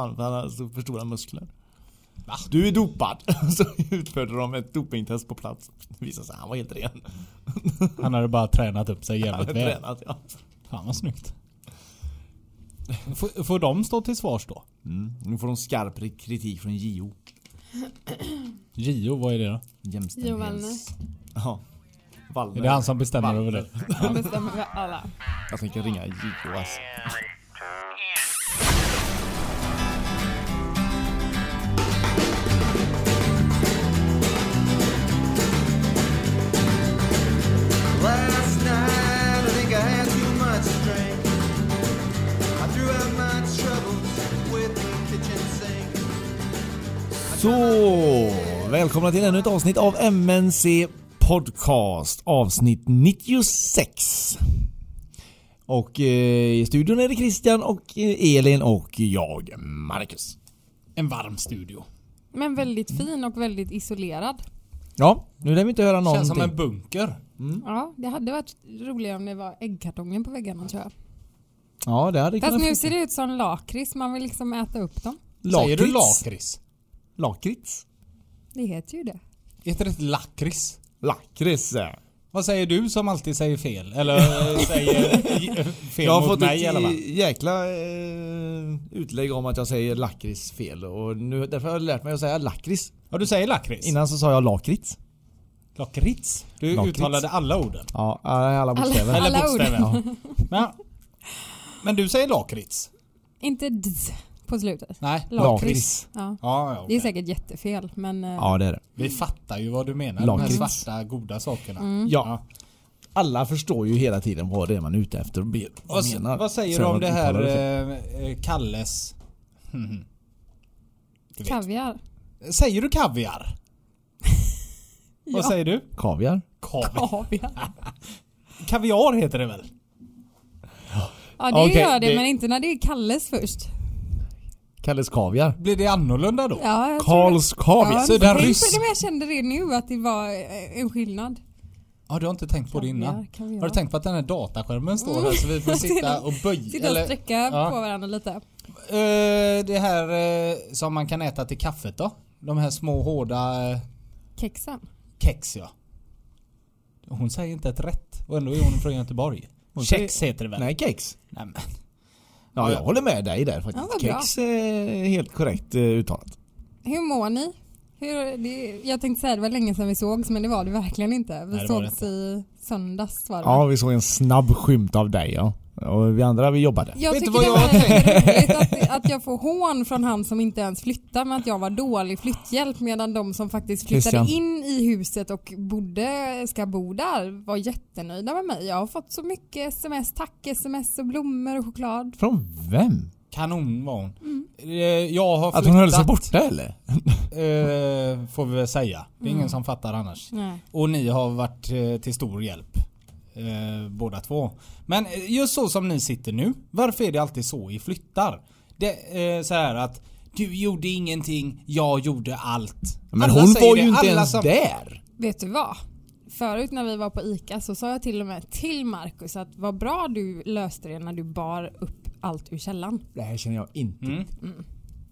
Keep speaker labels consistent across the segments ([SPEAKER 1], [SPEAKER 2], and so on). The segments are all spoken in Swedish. [SPEAKER 1] fan för han hade så för stora muskler. Du är dopad! Så utförde de ett dopingtest på plats. Det visade sig att han var helt ren.
[SPEAKER 2] Han hade bara tränat upp sig
[SPEAKER 1] Han hade
[SPEAKER 2] jävligt väl.
[SPEAKER 1] tränat ja.
[SPEAKER 2] Fan vad snyggt. Får, får de stå till svars då?
[SPEAKER 1] Mm. Nu får de skarp kritik från JO.
[SPEAKER 2] Gio, vad är det då?
[SPEAKER 1] Jämställdhets...
[SPEAKER 3] Wallner.
[SPEAKER 1] Ja. Wallner.
[SPEAKER 2] Är det han som bestämmer över det?
[SPEAKER 3] Han bestämmer över alla.
[SPEAKER 1] Jag tänker ringa JO alltså.
[SPEAKER 4] Last night, I think I had too much to drink. I threw out my troubles with the kitchen sink.
[SPEAKER 1] Så, välkomna till ännu ett avsnitt av MNC Podcast. Avsnitt 96. Och eh, i studion är det Christian och eh, Elin och jag, Marcus.
[SPEAKER 2] En varm studio.
[SPEAKER 3] Men väldigt fin och väldigt isolerad.
[SPEAKER 1] Ja, nu lär vi inte höra någonting.
[SPEAKER 2] Känns som en bunker.
[SPEAKER 3] Ja, det hade varit roligare om det var äggkartongen på väggarna tror jag.
[SPEAKER 1] Ja, det hade
[SPEAKER 3] Fast
[SPEAKER 1] kunnat-
[SPEAKER 3] nu ser det ut som lakrits, man vill liksom äta upp dem.
[SPEAKER 2] Säger du
[SPEAKER 1] Lakrits.
[SPEAKER 2] lakrits?
[SPEAKER 1] Lakrits?
[SPEAKER 3] Det heter ju det.
[SPEAKER 2] Heter det inte lakrits?
[SPEAKER 1] Lakrits.
[SPEAKER 2] Vad säger du som alltid säger fel? Eller eh, säger j- fel
[SPEAKER 1] Jag har
[SPEAKER 2] mot
[SPEAKER 1] fått
[SPEAKER 2] mig i alla
[SPEAKER 1] ett
[SPEAKER 2] fall?
[SPEAKER 1] j- jäkla eh, utlägg om att jag säger lakrits fel och nu, därför har jag lärt mig att säga lakrits.
[SPEAKER 2] Ja, du säger lakrits?
[SPEAKER 1] Innan så sa jag lakrits.
[SPEAKER 2] Lakrits? Du
[SPEAKER 1] Lakrits.
[SPEAKER 2] uttalade alla orden.
[SPEAKER 1] Ja, alla bokstäver.
[SPEAKER 3] Alla
[SPEAKER 2] Eller
[SPEAKER 3] ord.
[SPEAKER 2] bokstäver. Men, men du säger lakrits?
[SPEAKER 3] Inte ds på slutet.
[SPEAKER 2] Nej.
[SPEAKER 1] Lakrits.
[SPEAKER 3] Ja.
[SPEAKER 2] Ja, ja,
[SPEAKER 3] Det är
[SPEAKER 2] okej.
[SPEAKER 3] säkert jättefel men eh,
[SPEAKER 1] Ja, det är det.
[SPEAKER 2] Vi fattar ju vad du menar. De här
[SPEAKER 1] Lakrits.
[SPEAKER 2] svarta goda sakerna.
[SPEAKER 3] Mm.
[SPEAKER 1] Ja. Alla förstår ju hela tiden vad det är man är ute efter och ber-
[SPEAKER 2] Vad,
[SPEAKER 1] vad menar.
[SPEAKER 2] vad säger
[SPEAKER 1] Sen
[SPEAKER 2] du om
[SPEAKER 1] man
[SPEAKER 2] det
[SPEAKER 1] uttalar
[SPEAKER 2] här
[SPEAKER 1] fel.
[SPEAKER 2] eh, eh, Kalles... Mhm. Du vet.
[SPEAKER 3] kaviar.
[SPEAKER 2] Säger du kaviar?
[SPEAKER 3] Ja.
[SPEAKER 2] Vad säger du?
[SPEAKER 1] Kaviar?
[SPEAKER 2] Kaviar.
[SPEAKER 3] Kaviar.
[SPEAKER 2] Kaviar heter det väl?
[SPEAKER 3] Ja det
[SPEAKER 1] Okej,
[SPEAKER 3] gör det,
[SPEAKER 1] det-
[SPEAKER 3] men inte när det är Kalles först.
[SPEAKER 1] Kalles kaviar?
[SPEAKER 2] Blir det annorlunda då?
[SPEAKER 3] Ja, jag tror det.
[SPEAKER 1] Karls kaviar?
[SPEAKER 3] Ja,
[SPEAKER 2] Så
[SPEAKER 3] så
[SPEAKER 2] den
[SPEAKER 3] den ryss...
[SPEAKER 2] ryss-
[SPEAKER 3] Jag kände det nu att det var eh, en skillnad.
[SPEAKER 2] Ja, du har inte tänkt på det innan?
[SPEAKER 3] Kaviar, kaviar.
[SPEAKER 2] Har du tänkt på att den här dataskärmen står här så vi får sitta och böja?
[SPEAKER 3] Sitta och
[SPEAKER 2] Eller,
[SPEAKER 3] sträcka
[SPEAKER 2] Ja.
[SPEAKER 3] på varandra lite.
[SPEAKER 2] Eh, det här eh, som man kan äta till kaffet då? De här små hårda eh,
[SPEAKER 3] Kexen.
[SPEAKER 2] kex ja. Hon säger inte ett rätt och ändå är hon från Göteborg.
[SPEAKER 1] Hon säger-
[SPEAKER 2] Kex heter det väl?
[SPEAKER 1] Nej, kex.
[SPEAKER 2] Nej, men.
[SPEAKER 1] Ja, jag håller med dig där
[SPEAKER 3] Ja,
[SPEAKER 1] faktiskt.
[SPEAKER 3] vad bra.
[SPEAKER 1] kex är helt korrekt eh, uttalat.
[SPEAKER 3] Hur mår ni? Hur, det, jag tänkte säga det var länge sedan vi sågs men det var det verkligen inte. Vi
[SPEAKER 2] Nej, det var det
[SPEAKER 3] sågs i söndags var det.
[SPEAKER 1] Ja, vi såg en snabb skymt av dig ja. Och vi andra, vi jobbade.
[SPEAKER 3] Jag
[SPEAKER 2] Vet du
[SPEAKER 3] tycker
[SPEAKER 2] vad
[SPEAKER 3] det
[SPEAKER 2] jag
[SPEAKER 3] var roligt att, att jag får hån från han som inte ens flyttar men att jag var dålig flytthjälp medan de som faktiskt flyttade
[SPEAKER 1] Christian.
[SPEAKER 3] in i huset och bodde, ska bo där var jättenöjda med mig. Jag har fått så mycket sms, tack sms och blommor och choklad.
[SPEAKER 1] Från vem?
[SPEAKER 2] Kanon var hon. Eh, Jag har flyttat.
[SPEAKER 1] Att hon höll sig borta eller?
[SPEAKER 2] Eh, får vi väl säga. Det är ingen som fattar annars.
[SPEAKER 3] Nej.
[SPEAKER 2] Och ni har varit eh, till stor hjälp. Eh, båda två. Men eh, just så som ni sitter nu. Varför är det alltid så i flyttar? Det, eh, så här att du gjorde ingenting, jag gjorde allt.
[SPEAKER 1] Men
[SPEAKER 2] Alla
[SPEAKER 1] hon
[SPEAKER 2] säger
[SPEAKER 1] var
[SPEAKER 2] det,
[SPEAKER 1] ju inte
[SPEAKER 2] alla
[SPEAKER 1] ens
[SPEAKER 2] som-
[SPEAKER 1] där.
[SPEAKER 3] Vet du vad? Förut när vi var på ICA så sa jag till och med till Marcus att vad bra du löste det när du bar upp allt ur källan.
[SPEAKER 1] Det här känner jag inte.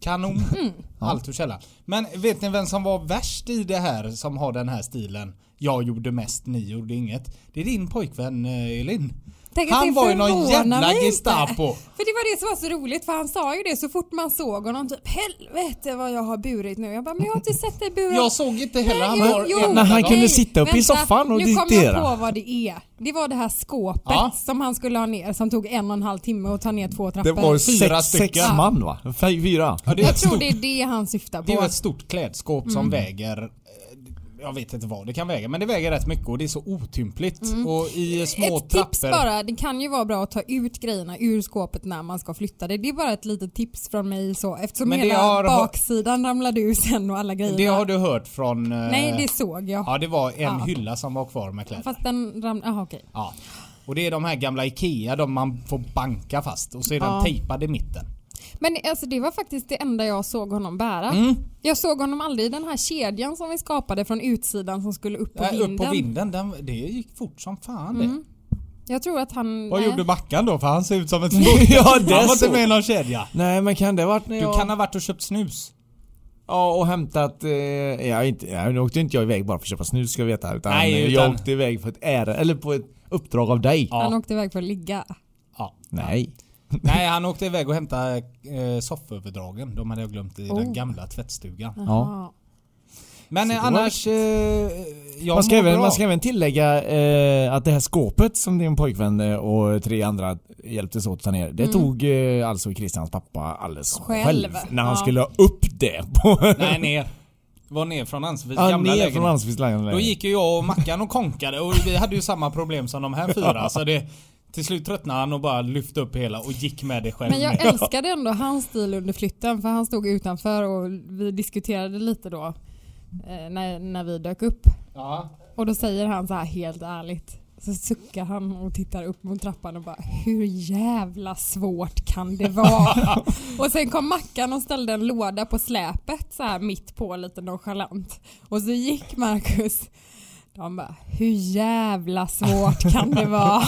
[SPEAKER 2] Kanon.
[SPEAKER 3] Mm.
[SPEAKER 2] Allt ur källan. Men vet ni vem som var värst i det här som har den här stilen? Jag gjorde mest, ni gjorde inget. Det är din pojkvän eh, Elin.
[SPEAKER 3] Tänk att det
[SPEAKER 2] han var ju någon
[SPEAKER 3] förvånar
[SPEAKER 2] jävla
[SPEAKER 3] mig inte.
[SPEAKER 2] Gestapo.
[SPEAKER 3] För det var det som var så roligt för han sa ju det så fort man såg honom typ helvete vad jag har burit nu. Jag bara men jag har inte sett dig bura.
[SPEAKER 2] Jag såg inte heller han
[SPEAKER 3] Nej,
[SPEAKER 2] har
[SPEAKER 3] jo,
[SPEAKER 2] en
[SPEAKER 3] jo.
[SPEAKER 1] När han
[SPEAKER 2] dag.
[SPEAKER 1] kunde sitta upp i
[SPEAKER 3] vänta,
[SPEAKER 1] soffan och
[SPEAKER 3] nu Nu
[SPEAKER 1] diktera.
[SPEAKER 3] kom jag på vad det är. Det var det här skåpet
[SPEAKER 2] Ja.
[SPEAKER 3] som han skulle ha ner som tog en och en halv timme att ta ner två trappor.
[SPEAKER 1] Det var
[SPEAKER 2] Fyra
[SPEAKER 1] sex, sex
[SPEAKER 2] stycken.
[SPEAKER 1] man va? Fy- Fyra?
[SPEAKER 2] Ja, det är
[SPEAKER 3] jag
[SPEAKER 2] ett
[SPEAKER 3] tror
[SPEAKER 2] stort,
[SPEAKER 3] det Mm. är det han syftar på.
[SPEAKER 2] det är ju ett stort klädskåp som väger eh, jag vet inte vad det kan väga men det väger rätt mycket och det är så otympligt. Och i små
[SPEAKER 3] Mm. ett
[SPEAKER 2] trappor.
[SPEAKER 3] tips bara, det kan ju vara bra att ta ut grejerna ur skåpet när man ska flytta det. Det är bara ett litet tips från mig så eftersom
[SPEAKER 2] Men det
[SPEAKER 3] hela
[SPEAKER 2] har-
[SPEAKER 3] baksidan ramlade ur sen och alla grejerna.
[SPEAKER 2] Det har du hört från... eh,
[SPEAKER 3] Nej det såg jag.
[SPEAKER 2] Ja det var en
[SPEAKER 3] Ja.
[SPEAKER 2] hylla som var kvar med kläder.
[SPEAKER 3] Fast den ramlade, jaha okej.
[SPEAKER 2] Ja. Och det är de här gamla IKEA, de man får banka fast och så är
[SPEAKER 3] Ja.
[SPEAKER 2] den tejpad i mitten.
[SPEAKER 3] Men alltså, det var faktiskt det enda jag såg honom bära.
[SPEAKER 2] Mm.
[SPEAKER 3] Jag såg honom aldrig i den här kedjan som vi skapade från utsidan som skulle upp på
[SPEAKER 2] Nej,
[SPEAKER 3] vinden.
[SPEAKER 2] upp på vinden, den, det gick fort som fan det.
[SPEAKER 3] Jag tror att han...
[SPEAKER 2] Vad
[SPEAKER 3] nej.
[SPEAKER 2] gjorde Mackan då? För han ser ut som ett smutt.
[SPEAKER 1] Ja, det
[SPEAKER 2] han var
[SPEAKER 1] såg-
[SPEAKER 2] inte med i någon kedja.
[SPEAKER 1] Nej men kan det varit när
[SPEAKER 2] Du
[SPEAKER 1] jag...
[SPEAKER 2] kan ha varit och köpt snus.
[SPEAKER 1] Ja och hämtat... Eh, jag inte, ja, nu åkte inte jag iväg bara för att köpa snus ska jag veta. Utan,
[SPEAKER 2] Nej,
[SPEAKER 1] eh, jag
[SPEAKER 2] utan-
[SPEAKER 1] åkte iväg för ett ärende, eller på ett uppdrag av dig.
[SPEAKER 2] Ja.
[SPEAKER 3] Han åkte iväg för att ligga.
[SPEAKER 2] Ja.
[SPEAKER 1] Nej.
[SPEAKER 2] Nej, han åkte iväg och hämtade eh, sofföverdragen. De hade jag glömt i den
[SPEAKER 3] Oh.
[SPEAKER 2] gamla tvättstugan.
[SPEAKER 3] Jaha.
[SPEAKER 2] Men eh,
[SPEAKER 1] det var
[SPEAKER 2] annars... Eh, jag
[SPEAKER 1] Man ska,
[SPEAKER 2] mår
[SPEAKER 1] även,
[SPEAKER 2] bra.
[SPEAKER 1] man ska även tillägga eh, att det här skåpet som din pojkvän eh, och tre andra hjälptes åt att ta ner. Det
[SPEAKER 2] Mm.
[SPEAKER 1] tog eh, alltså Christians pappa alldeles själv.
[SPEAKER 3] Själv.
[SPEAKER 1] när han
[SPEAKER 3] Ja.
[SPEAKER 1] skulle ha upp det. På
[SPEAKER 2] Nej, ner. Var ner från Ansevids
[SPEAKER 1] ja,
[SPEAKER 2] gamla
[SPEAKER 1] ner
[SPEAKER 2] lägenhet.
[SPEAKER 1] från Ansvikslangen.
[SPEAKER 2] Då gick ju jag och Mackan och konkade och vi hade ju samma problem som de här fyra. Så det, till slut tröttnade han och bara lyfte upp hela och gick med det själv.
[SPEAKER 3] Men jag
[SPEAKER 2] med.
[SPEAKER 3] älskade ändå hans stil under flytten för han stod utanför och vi diskuterade lite då eh, när, när vi dök upp.
[SPEAKER 2] Ja.
[SPEAKER 3] Och då säger han så här helt ärligt. Så suckar han och tittar upp mot trappan och bara hur jävla svårt kan det vara? och sen kom Mackan och ställde en låda på släpet så här mitt på lite nonchalant. Och så gick Marcus. De bara hur jävla svårt kan det vara?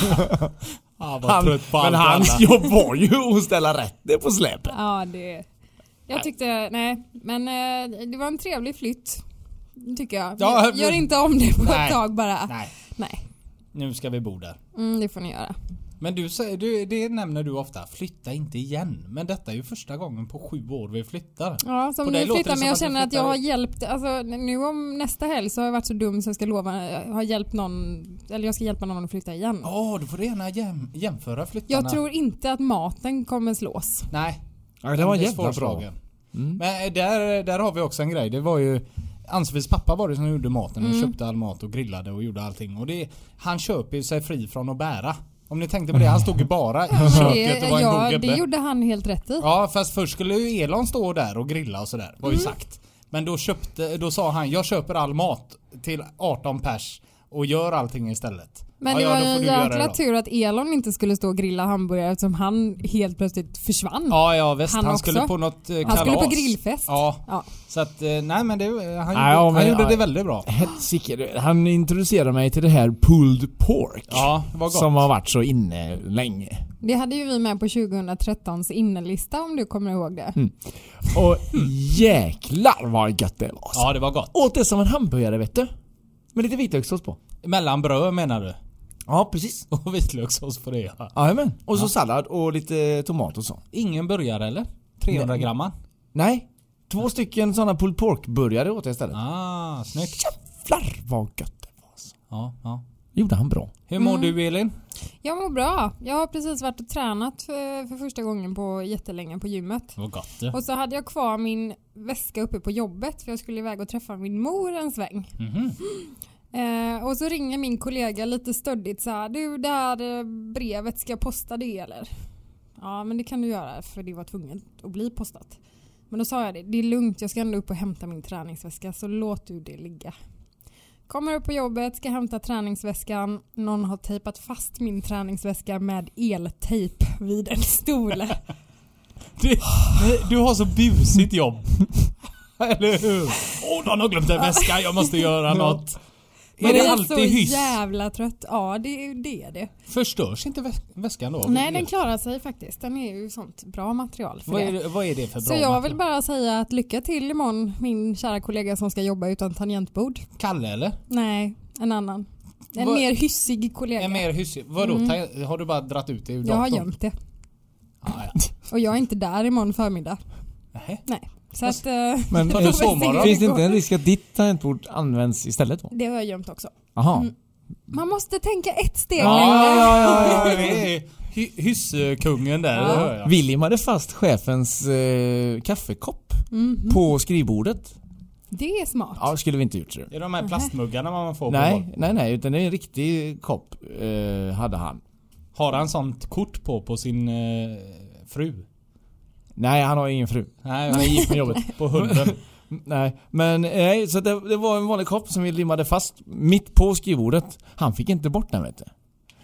[SPEAKER 2] Han var
[SPEAKER 1] han,
[SPEAKER 2] Ah, trött på
[SPEAKER 1] Men
[SPEAKER 2] allt och
[SPEAKER 1] hans
[SPEAKER 2] alla.
[SPEAKER 1] jobb var ju att ställa rätt det på
[SPEAKER 2] Typ.
[SPEAKER 1] släpet.
[SPEAKER 3] Ja, det...
[SPEAKER 2] Äh.
[SPEAKER 3] Jag tyckte, nej, men eh, det var en trevlig flytt. Tycker jag.
[SPEAKER 2] Ja,
[SPEAKER 3] Gör inte om det på
[SPEAKER 2] nej.
[SPEAKER 3] ett tag bara. Nej.
[SPEAKER 2] Nej, nu ska vi bo där.
[SPEAKER 3] Mm, det får ni göra.
[SPEAKER 2] Men du säger, du, det nämner du ofta, flytta inte igen. Men detta är ju första gången på sju år vi flyttar.
[SPEAKER 3] Ja,
[SPEAKER 2] På
[SPEAKER 3] som
[SPEAKER 2] dig
[SPEAKER 3] ni
[SPEAKER 2] låter det
[SPEAKER 3] flyttar,
[SPEAKER 2] som
[SPEAKER 3] men jag
[SPEAKER 2] att du
[SPEAKER 3] känner att jag
[SPEAKER 2] flyttar-
[SPEAKER 3] har hjälpt, alltså nu om nästa helg så har jag varit så dum så jag ska lova, jag har hjälpt någon, eller jag ska hjälpa någon att flytta igen.
[SPEAKER 2] Ja, du får du gärna jäm, jämföra flyttarna.
[SPEAKER 3] jag tror inte att maten kommer slås.
[SPEAKER 2] Nej.
[SPEAKER 1] Ja, det var
[SPEAKER 2] den är
[SPEAKER 1] jävla bra.
[SPEAKER 2] svårslagen.
[SPEAKER 3] Mm.
[SPEAKER 2] Men eh, där, där har vi också en grej. Det var ju Ansefis pappa var det som gjorde maten. Han
[SPEAKER 3] Mm.
[SPEAKER 2] köpte all mat och grillade och gjorde allting. Och det, han köper ju sig fri från att bära. Om ni tänkte på det, han stod ju bara i köket och var en god
[SPEAKER 3] ja,
[SPEAKER 2] gubbe.
[SPEAKER 3] det gjorde han helt rätt i.
[SPEAKER 2] Ja fast först skulle ju Elon stå där och grilla och sådär,
[SPEAKER 3] Mm.
[SPEAKER 2] var ju sagt. Men då, köpte, då sa han jag köper all mat till 18 pers och gör allting istället.
[SPEAKER 3] Men
[SPEAKER 2] ja,
[SPEAKER 3] det
[SPEAKER 2] ja,
[SPEAKER 3] var
[SPEAKER 2] då
[SPEAKER 3] ju
[SPEAKER 2] får
[SPEAKER 3] en
[SPEAKER 2] du göra
[SPEAKER 3] jäkla
[SPEAKER 2] då.
[SPEAKER 3] tur att Elon inte skulle stå och grilla hamburgare eftersom han helt plötsligt försvann.
[SPEAKER 2] Ja ja visst, han,
[SPEAKER 3] Han också.
[SPEAKER 2] skulle på något eh, kalas.
[SPEAKER 3] Han skulle på grillfest.
[SPEAKER 2] Ja.
[SPEAKER 3] Ja.
[SPEAKER 2] Så att, eh, nej men det, han, gjorde,
[SPEAKER 1] ja, men-
[SPEAKER 2] han gjorde
[SPEAKER 1] ja.
[SPEAKER 2] det väldigt bra.
[SPEAKER 1] Helsike, du- han introducerade mig till det här pulled pork.
[SPEAKER 2] Ja, det var gott.
[SPEAKER 1] som har varit så inne länge.
[SPEAKER 3] Det hade ju vi med på 2013s innelista om du kommer ihåg det.
[SPEAKER 2] Mm.
[SPEAKER 1] Och jäklar vad gött det var.
[SPEAKER 2] Ja det var gott.
[SPEAKER 1] Åt det som en hamburgare vet du. Med lite vitlökssås på.
[SPEAKER 2] Mellan bröd menar du?
[SPEAKER 1] Ja precis.
[SPEAKER 2] Och vitlökssås på det ja.
[SPEAKER 1] Jajamän. Och så sallad och lite tomat och så.
[SPEAKER 2] Ingen burgare eller? 300
[SPEAKER 1] Nej.
[SPEAKER 2] grammar?
[SPEAKER 1] Nej. Två stycken sådana pulled pork burgare åt jag istället.
[SPEAKER 2] Ah, snyggt.
[SPEAKER 1] Jävlar vad gött det var. alltså.
[SPEAKER 2] Ja, ja.
[SPEAKER 1] Gjorde han bra.
[SPEAKER 2] Hur mår du Elin?
[SPEAKER 3] Jag mår bra. Jag har precis varit och tränat för, för första gången på jättelänge på gymmet.
[SPEAKER 2] Det var gott du.
[SPEAKER 3] Och så hade jag kvar min väska uppe på jobbet för jag skulle iväg och träffa min mor en sväng.
[SPEAKER 2] Mm-hmm.
[SPEAKER 3] Eh, och så ringer min kollega lite stöddigt så här. Du det här eh, brevet, ska jag posta det eller? Ja men det kan du göra för det var tvunget att bli postat. Men då sa jag det, det är lugnt jag ska ändå upp och hämta min träningsväska så låt du det ligga. Kommer upp på jobbet, ska hämta träningsväskan. Någon har tejpat fast min träningsväska med eltejp vid en stol.
[SPEAKER 2] Du, du har så busigt jobb. Eller hur? Åh, någon har glömt en väska, jag måste göra något. Är
[SPEAKER 3] Man
[SPEAKER 2] det
[SPEAKER 3] så
[SPEAKER 2] alltid hyss?
[SPEAKER 3] jävla trött. Ja, det är det. Är det.
[SPEAKER 2] Förstörs inte väs- väskan då?
[SPEAKER 3] Nej, den klarar sig faktiskt. Den är ju sånt bra material för
[SPEAKER 2] vad, är,
[SPEAKER 3] det.
[SPEAKER 2] det- vad är det för bra?
[SPEAKER 3] Så jag vill
[SPEAKER 2] material?
[SPEAKER 3] bara säga att lycka till imorgon min kära kollega som ska jobba utan tangentbord.
[SPEAKER 2] Kalle eller?
[SPEAKER 3] Nej, en annan. En
[SPEAKER 2] Vad-
[SPEAKER 3] mer hyssig kollega.
[SPEAKER 2] En mer hyssig? Vadå? Ta- Har du bara dratt ut det ur
[SPEAKER 3] Mm. jag har
[SPEAKER 2] datorn?
[SPEAKER 3] gömt det.
[SPEAKER 2] Ah, ja.
[SPEAKER 3] Och jag är inte där imorgon förmiddag.
[SPEAKER 2] Nähä.
[SPEAKER 3] Nej. Så att... eh,
[SPEAKER 1] Men
[SPEAKER 3] vi får
[SPEAKER 2] vadå,
[SPEAKER 3] väl se
[SPEAKER 2] sovmorgon?
[SPEAKER 3] hur det
[SPEAKER 1] finns det
[SPEAKER 3] går.
[SPEAKER 1] inte en risk att ditt tangentbord används istället då?
[SPEAKER 3] Det har jag gömt också.
[SPEAKER 1] Jaha.
[SPEAKER 3] Man måste tänka ett steg
[SPEAKER 1] Ah,
[SPEAKER 2] Ja,
[SPEAKER 3] längre.
[SPEAKER 2] ja, ja, ja, det är hy- Hyssekungen där, det hör jag.
[SPEAKER 1] William hade fast chefens eh, kaffekopp på skrivbordet.
[SPEAKER 3] Mhm. Det är smart.
[SPEAKER 1] Ja, skulle vi inte gjort det.
[SPEAKER 2] Det är de här plastmuggarna man får på
[SPEAKER 1] Nej,
[SPEAKER 2] golvet.
[SPEAKER 1] nej, nej. Utan det är en riktig kopp eh, hade han.
[SPEAKER 2] Har han sånt kort på, på sin eh, fru?
[SPEAKER 1] Nej, han har ingen fru.
[SPEAKER 2] Nej,
[SPEAKER 1] Han är gift med jobbet.
[SPEAKER 2] på hunden.
[SPEAKER 1] Nej, men nej, så det, det var en vanlig kopp som vi limmade fast mitt på skrivbordet. Han fick inte bort den vet du.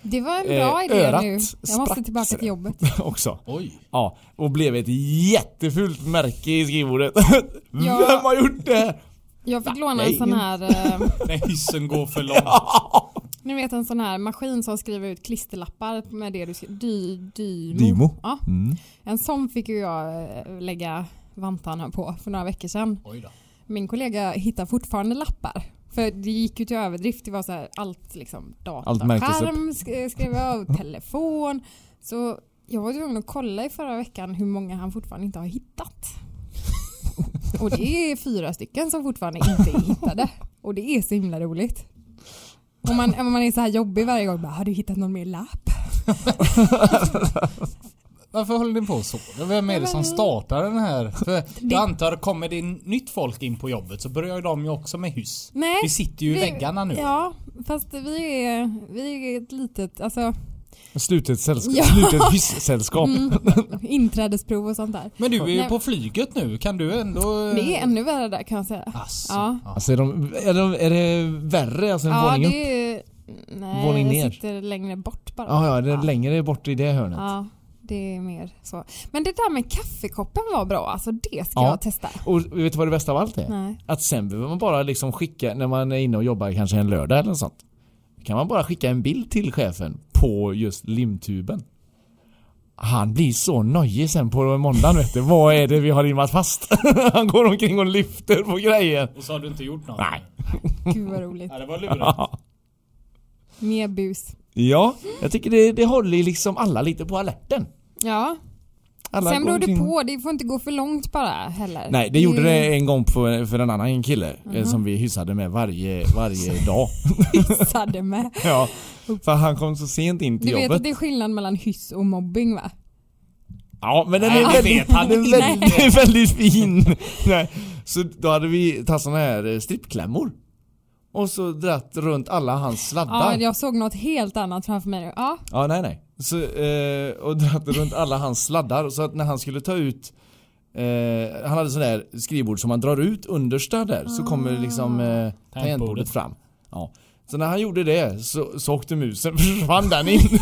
[SPEAKER 3] Det var en
[SPEAKER 1] Eh,
[SPEAKER 3] bra idé
[SPEAKER 1] örat
[SPEAKER 3] nu. Jag måste
[SPEAKER 1] sprack,
[SPEAKER 3] tillbaka
[SPEAKER 1] ser
[SPEAKER 3] till
[SPEAKER 1] jag.
[SPEAKER 3] jobbet.
[SPEAKER 1] Också.
[SPEAKER 2] Oj.
[SPEAKER 1] Ja, och blev ett jättefult märke i skrivbordet.
[SPEAKER 3] Ja.
[SPEAKER 1] Vem har gjort det?
[SPEAKER 3] Jag fick låna
[SPEAKER 1] nej.
[SPEAKER 3] en sån här... Eh,
[SPEAKER 2] När hissen går för långt.
[SPEAKER 3] Ni vet en sån här maskin som skriver ut klisterlappar med det du skriver. Dy, dymo.
[SPEAKER 1] Dymo.
[SPEAKER 3] Ja,
[SPEAKER 1] Mm.
[SPEAKER 3] en sån fick ju jag eh, lägga vantarna på för några veckor sedan.
[SPEAKER 2] Oj då.
[SPEAKER 3] Min kollega hittar fortfarande lappar. För det gick ju till överdrift. Det var så här allt liksom
[SPEAKER 1] Allt märktes upp.
[SPEAKER 3] dataskärm, sk- skrev av, telefon. Så jag var tvungen att kolla i förra veckan hur många han fortfarande inte har hittat. Och det är fyra stycken som fortfarande inte är hittade. Och det är så himla roligt. Om man, om man är så här jobbig varje gång, bara, har du hittat någon mer lapp?
[SPEAKER 2] Varför håller ni på så? Vem är det som startar den här? För
[SPEAKER 3] Det-
[SPEAKER 2] jag antar, kommer det nytt folk in på jobbet så börjar ju de ju också med hyss.
[SPEAKER 3] Nej.
[SPEAKER 2] Vi sitter ju i
[SPEAKER 3] Vi-
[SPEAKER 2] väggarna nu.
[SPEAKER 3] Ja, fast vi är, vi är ett litet, alltså
[SPEAKER 1] Slutet sällskap.
[SPEAKER 3] Ja. Mm.
[SPEAKER 1] Slutet hyss-sällskap.
[SPEAKER 3] inträdesprov och sånt där.
[SPEAKER 2] Men du är ju
[SPEAKER 3] Nej.
[SPEAKER 2] på flyget nu. Kan du ändå... eh,
[SPEAKER 3] Det är ännu värre där kan jag säga.
[SPEAKER 2] Alltså.
[SPEAKER 3] Ja.
[SPEAKER 1] Alltså är, de, är, de, är det värre alltså en
[SPEAKER 3] Ja,
[SPEAKER 1] våning upp?
[SPEAKER 3] det är... Nej,
[SPEAKER 1] Våning ner.
[SPEAKER 3] det sitter längre bort bara.
[SPEAKER 1] Ja, ja, det är längre bort i det hörnet.
[SPEAKER 3] Ja, det är mer så. Men det där med kaffekoppen var bra, alltså det ska
[SPEAKER 1] Ja.
[SPEAKER 3] jag testa.
[SPEAKER 1] Och vet du vad det bästa av allt är?
[SPEAKER 3] Nej.
[SPEAKER 1] Att sen behöver man bara liksom skicka, när man är inne och jobbar kanske en lördag eller något sånt. Kan man bara skicka en bild till chefen på just limtuben. Han blir så nojig sen på måndagen vet du. Vad är det vi har limmat fast? Han går omkring och lyfter på grejer.
[SPEAKER 2] Och så har du inte gjort något?
[SPEAKER 1] Nej.
[SPEAKER 3] Gud vad roligt.
[SPEAKER 2] Ja, det var lurigt.
[SPEAKER 3] Mer bus.
[SPEAKER 1] Ja, jag tycker det, det håller liksom alla lite på alerten.
[SPEAKER 3] Ja,
[SPEAKER 1] Alla
[SPEAKER 3] sen
[SPEAKER 1] går
[SPEAKER 3] beror det
[SPEAKER 1] omkring-
[SPEAKER 3] på. Det får inte gå för långt bara heller.
[SPEAKER 1] Nej, det gjorde
[SPEAKER 3] är-
[SPEAKER 1] det en gång för, för en annan kille
[SPEAKER 3] Mhm.
[SPEAKER 1] eh, som vi hyssade med varje, varje dag.
[SPEAKER 3] Sade med.
[SPEAKER 1] Ja, för han kom så sent in till
[SPEAKER 3] Du vet
[SPEAKER 1] jobbet.
[SPEAKER 3] att det är skillnad mellan hyss och mobbing va?
[SPEAKER 1] Ja, men den är
[SPEAKER 2] Nej, det
[SPEAKER 1] väldigt,
[SPEAKER 2] vet han
[SPEAKER 1] den är
[SPEAKER 2] inte.
[SPEAKER 1] väldigt, den är väldigt fin. Nej. Så då hade vi tagit såna här eh, strippklämmor. Och så dratt runt alla hans sladdar.
[SPEAKER 3] Ja, jag såg något helt annat framför mig nu. Ja,
[SPEAKER 1] Ja, nej nej. Så, eh, och dratt runt alla hans sladdar så att när han skulle ta ut eh, Han hade sån där skrivbord som man drar ut understa där så kommer liksom eh, tangentbordet fram. Ja. Så när han gjorde det så, så åkte musen, försvann den in.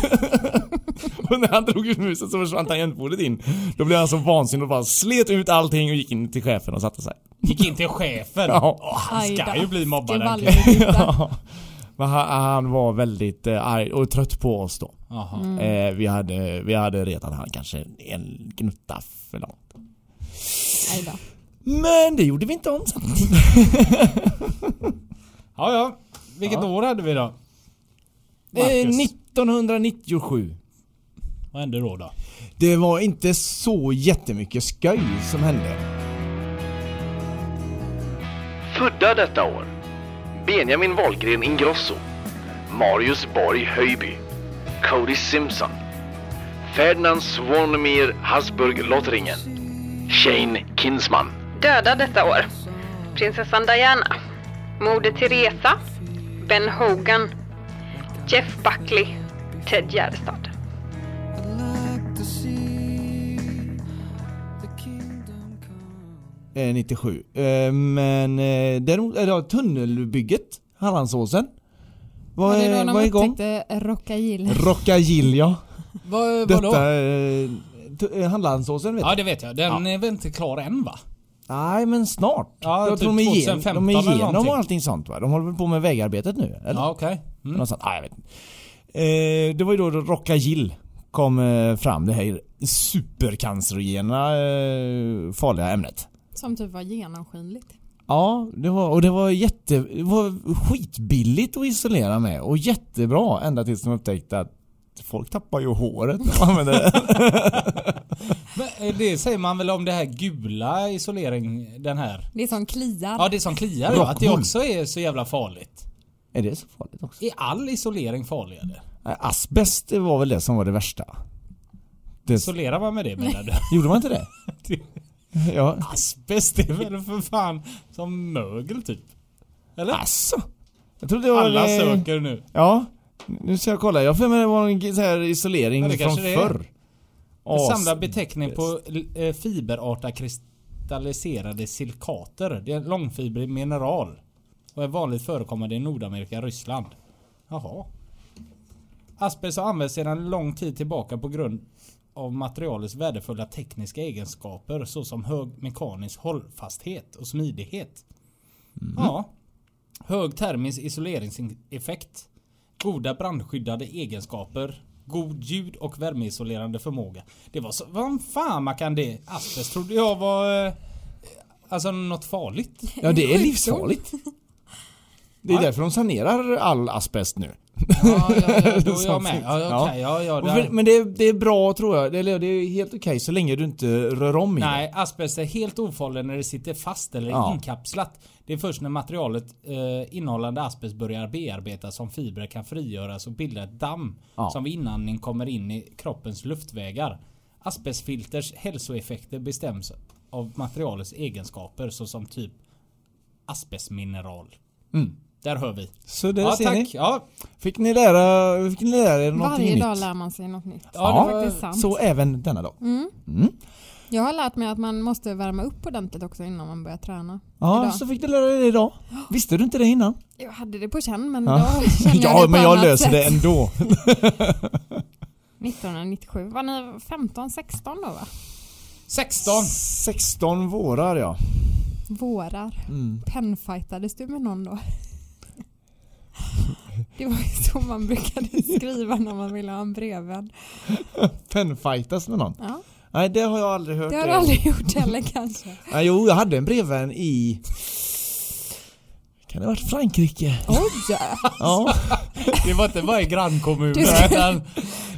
[SPEAKER 1] och när han drog ut musen så försvann tangentbordet in. Då blev han så vansinnig och bara slet ut allting och gick in till chefen och satte sig.
[SPEAKER 2] Gick in till chefen.
[SPEAKER 1] Ja.
[SPEAKER 2] Åh, han ska
[SPEAKER 3] Aj då.
[SPEAKER 2] ju bli mobbad.
[SPEAKER 3] det
[SPEAKER 2] den
[SPEAKER 3] var
[SPEAKER 2] killen.
[SPEAKER 3] aldrig utan.
[SPEAKER 1] Ja. Men han, han var väldigt eh, arg och trött på oss då.
[SPEAKER 2] Jaha.
[SPEAKER 1] Eh, vi, hade, vi hade retat han kanske en gnutta för långt.
[SPEAKER 3] Nej då.
[SPEAKER 1] Men det gjorde vi inte om sen. Eh,
[SPEAKER 2] Ja, ja. Vilket år hade vi då?
[SPEAKER 1] Eh,
[SPEAKER 2] Marcus.
[SPEAKER 1] 1997.
[SPEAKER 2] Vad hände då då?
[SPEAKER 1] Det var inte så jättemycket skoj som hände.
[SPEAKER 5] Födda detta år. Benjamin Wahlgren Ingrosso. Marius Borg Höjby. Cody Simpson. Ferdinand Svanemir Hasburg Lottringen. Shane Kinsman.
[SPEAKER 6] Döda detta år. Prinsessan Diana. Moder Teresa. Ben Hogan. Jeff Buckley. Ted Gärdestad.
[SPEAKER 1] Eh, 97. Eh, men eh, däremot, eller, tunnelbygget, Hallandsåsen.
[SPEAKER 3] Var
[SPEAKER 1] Var,
[SPEAKER 3] det då
[SPEAKER 1] eh,
[SPEAKER 3] när
[SPEAKER 1] var
[SPEAKER 3] man
[SPEAKER 1] igång.
[SPEAKER 3] upptäckte Rockagill?
[SPEAKER 1] Rockagil ja.
[SPEAKER 2] Vad,
[SPEAKER 1] Detta, eh, t- eh, Hallandsåsen vet
[SPEAKER 2] Ja,
[SPEAKER 1] du?
[SPEAKER 2] det vet jag. Den är väl inte klar än va?
[SPEAKER 1] Nej men snart.
[SPEAKER 2] Ja,
[SPEAKER 1] jag
[SPEAKER 2] typ
[SPEAKER 1] tror de är igen-
[SPEAKER 2] 2015
[SPEAKER 1] de är
[SPEAKER 2] eller
[SPEAKER 1] igenom
[SPEAKER 2] någonting.
[SPEAKER 1] och allting sånt va? De håller väl på med vägarbetet nu? Eller?
[SPEAKER 2] Ja, okej.
[SPEAKER 1] Mm.
[SPEAKER 2] Mm.
[SPEAKER 1] Något sånt. Ah, jag vet inte. Eh, det var ju då Rocka Gill kom eh, fram, det här supercancerogena eh, farliga ämnet.
[SPEAKER 3] Som typ var genomskinligt.
[SPEAKER 1] Ja, det var, och det var, jätte, det var skitbilligt att isolera med och jättebra ända tills de upptäckte att folk tappar ju håret när man använder det.
[SPEAKER 2] Men, eh, det säger man väl om det här gula isolering, den här.
[SPEAKER 3] Det är som kliar.
[SPEAKER 2] Ja, det som kliar ja, Att det
[SPEAKER 1] Rockmull.
[SPEAKER 2] också är så jävla farligt.
[SPEAKER 1] Är det så farligt också?
[SPEAKER 2] Är all isolering farlig eller?
[SPEAKER 1] Nej, Asbest det var väl det som var det värsta. Det,
[SPEAKER 2] Isolerar man med det menar du?
[SPEAKER 1] gjorde man inte det? Ja.
[SPEAKER 2] Asbest är väl för fan som mögel typ? Eller?
[SPEAKER 1] Asså? Alltså. Jag trodde det var...
[SPEAKER 2] Alla
[SPEAKER 1] eh,
[SPEAKER 2] söker nu.
[SPEAKER 1] Ja, nu ska jag kolla. Jag har för mig det var en så här isolering
[SPEAKER 2] Ja, det
[SPEAKER 1] från
[SPEAKER 2] kanske det är.
[SPEAKER 1] förr.
[SPEAKER 2] En
[SPEAKER 1] As-
[SPEAKER 2] samlad beteckning på eh, fiberartade kristalliserade silikater. Det är en långfibrig mineral. Och är vanligt förekommande i Nordamerika och Ryssland. Jaha. Asbest har använts sedan lång tid tillbaka på grund av materialets värdefulla tekniska egenskaper såsom hög mekanisk hållfasthet och smidighet. Ja. Hög termisk isoleringseffekt. Goda brandskyddande egenskaper. God ljud och värmeisolerande förmåga. Det var så... Vad fan man kan det? Asbest trodde jag var... eh, Alltså något farligt.
[SPEAKER 1] Ja det är livsfarligt. Det är därför de sanerar all asbest nu.
[SPEAKER 2] Ja, ja, ja, då är jag
[SPEAKER 1] Som
[SPEAKER 2] med.
[SPEAKER 1] finns.
[SPEAKER 2] Ja, okay, ja, ja,
[SPEAKER 1] Och
[SPEAKER 2] där.
[SPEAKER 1] för- Men det, det är bra tror jag. Eller det är helt okej så länge du inte rör om i det.
[SPEAKER 2] Nej, asbest är helt ofarlig när det sitter fast eller
[SPEAKER 1] Ja.
[SPEAKER 2] inkapslat. Det är först när materialet eh, innehållande asbest börjar bearbetas som fibrer kan frigöras och bilda ett damm
[SPEAKER 1] Ja.
[SPEAKER 2] som vid inandning kommer in i kroppens luftvägar. Asbestfilters hälsoeffekter bestäms av materialets egenskaper såsom typ asbestmineral.
[SPEAKER 1] Mm.
[SPEAKER 2] Där hör vi.
[SPEAKER 1] Så där
[SPEAKER 2] ja,
[SPEAKER 1] ser
[SPEAKER 2] tack.
[SPEAKER 1] ni.
[SPEAKER 2] Ja,
[SPEAKER 1] Fick ni lära, fick ni lära er någonting
[SPEAKER 3] Varje dag
[SPEAKER 1] nytt?
[SPEAKER 3] lär Mm, man sig något nytt.
[SPEAKER 2] Ja, det
[SPEAKER 3] det är
[SPEAKER 2] var-
[SPEAKER 3] faktiskt sant.
[SPEAKER 1] Så även denna dag.
[SPEAKER 3] Jag har lärt mig att man måste värma upp ordentligt också innan man börjar träna.
[SPEAKER 1] Ja,
[SPEAKER 3] Idag.
[SPEAKER 1] så fick du lära dig det idag. Visste du inte det innan?
[SPEAKER 3] Jag hade det på känn men
[SPEAKER 1] Ja.
[SPEAKER 3] då känner jag
[SPEAKER 1] ja,
[SPEAKER 3] det på
[SPEAKER 1] men jag
[SPEAKER 3] annat
[SPEAKER 1] löser
[SPEAKER 3] sätt.
[SPEAKER 1] det ändå.
[SPEAKER 3] 1997, var ni 15, 16 då va?
[SPEAKER 2] 16.
[SPEAKER 1] 16 vårar ja. Mm.
[SPEAKER 3] Vårar. Penfightades du med någon då? Det var ju så man brukade skriva när man ville ha en brevvän.
[SPEAKER 1] Penfightas med någon.
[SPEAKER 3] Ja,
[SPEAKER 1] Nej, det har jag aldrig hört.
[SPEAKER 3] det har du
[SPEAKER 1] eh,
[SPEAKER 3] aldrig gjort heller kanske.
[SPEAKER 1] Nej, jo, jag hade en brevvän i... Kan det ha varit Frankrike?
[SPEAKER 3] Oj!
[SPEAKER 1] Ja.
[SPEAKER 2] Det var inte bara i grannkommunen.
[SPEAKER 3] Du skulle-
[SPEAKER 2] utan-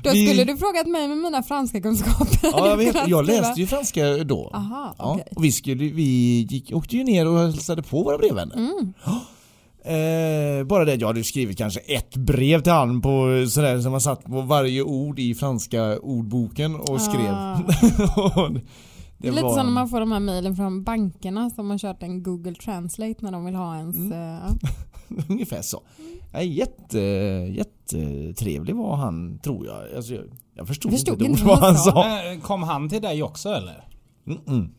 [SPEAKER 3] Då
[SPEAKER 1] Vi-
[SPEAKER 3] skulle du frågat mig med mina franska kunskaper.
[SPEAKER 1] Ja, jag, vet, jag
[SPEAKER 3] Skriva.
[SPEAKER 1] läste ju franska då.
[SPEAKER 3] Aha,
[SPEAKER 1] ja,
[SPEAKER 3] okej.
[SPEAKER 1] och vi, skulle, vi gick, åkte ju ner och hälsade på våra brevvänner.
[SPEAKER 3] Mm.
[SPEAKER 1] Eh, bara det att jag hade ju skrivit kanske ett brev till han på sådär som man satt på varje ord i franska ordboken och skrev.
[SPEAKER 3] Ah.
[SPEAKER 1] Och det
[SPEAKER 3] Det är lite
[SPEAKER 1] var-
[SPEAKER 3] som när man får de här mejlen från bankerna som har kört en Google Translate när de vill ha ens...
[SPEAKER 1] Mm.
[SPEAKER 3] eh, ja.
[SPEAKER 1] Ungefär så. Nej, jätte, jättetrevlig var han tror jag. Alltså, jag, jag förstod,
[SPEAKER 3] Jag förstod
[SPEAKER 1] inte ett
[SPEAKER 3] inte
[SPEAKER 1] ord vad
[SPEAKER 3] vad han
[SPEAKER 1] han sa.
[SPEAKER 2] Men Eh, Kom han till dig också eller?
[SPEAKER 1] Mm-mm.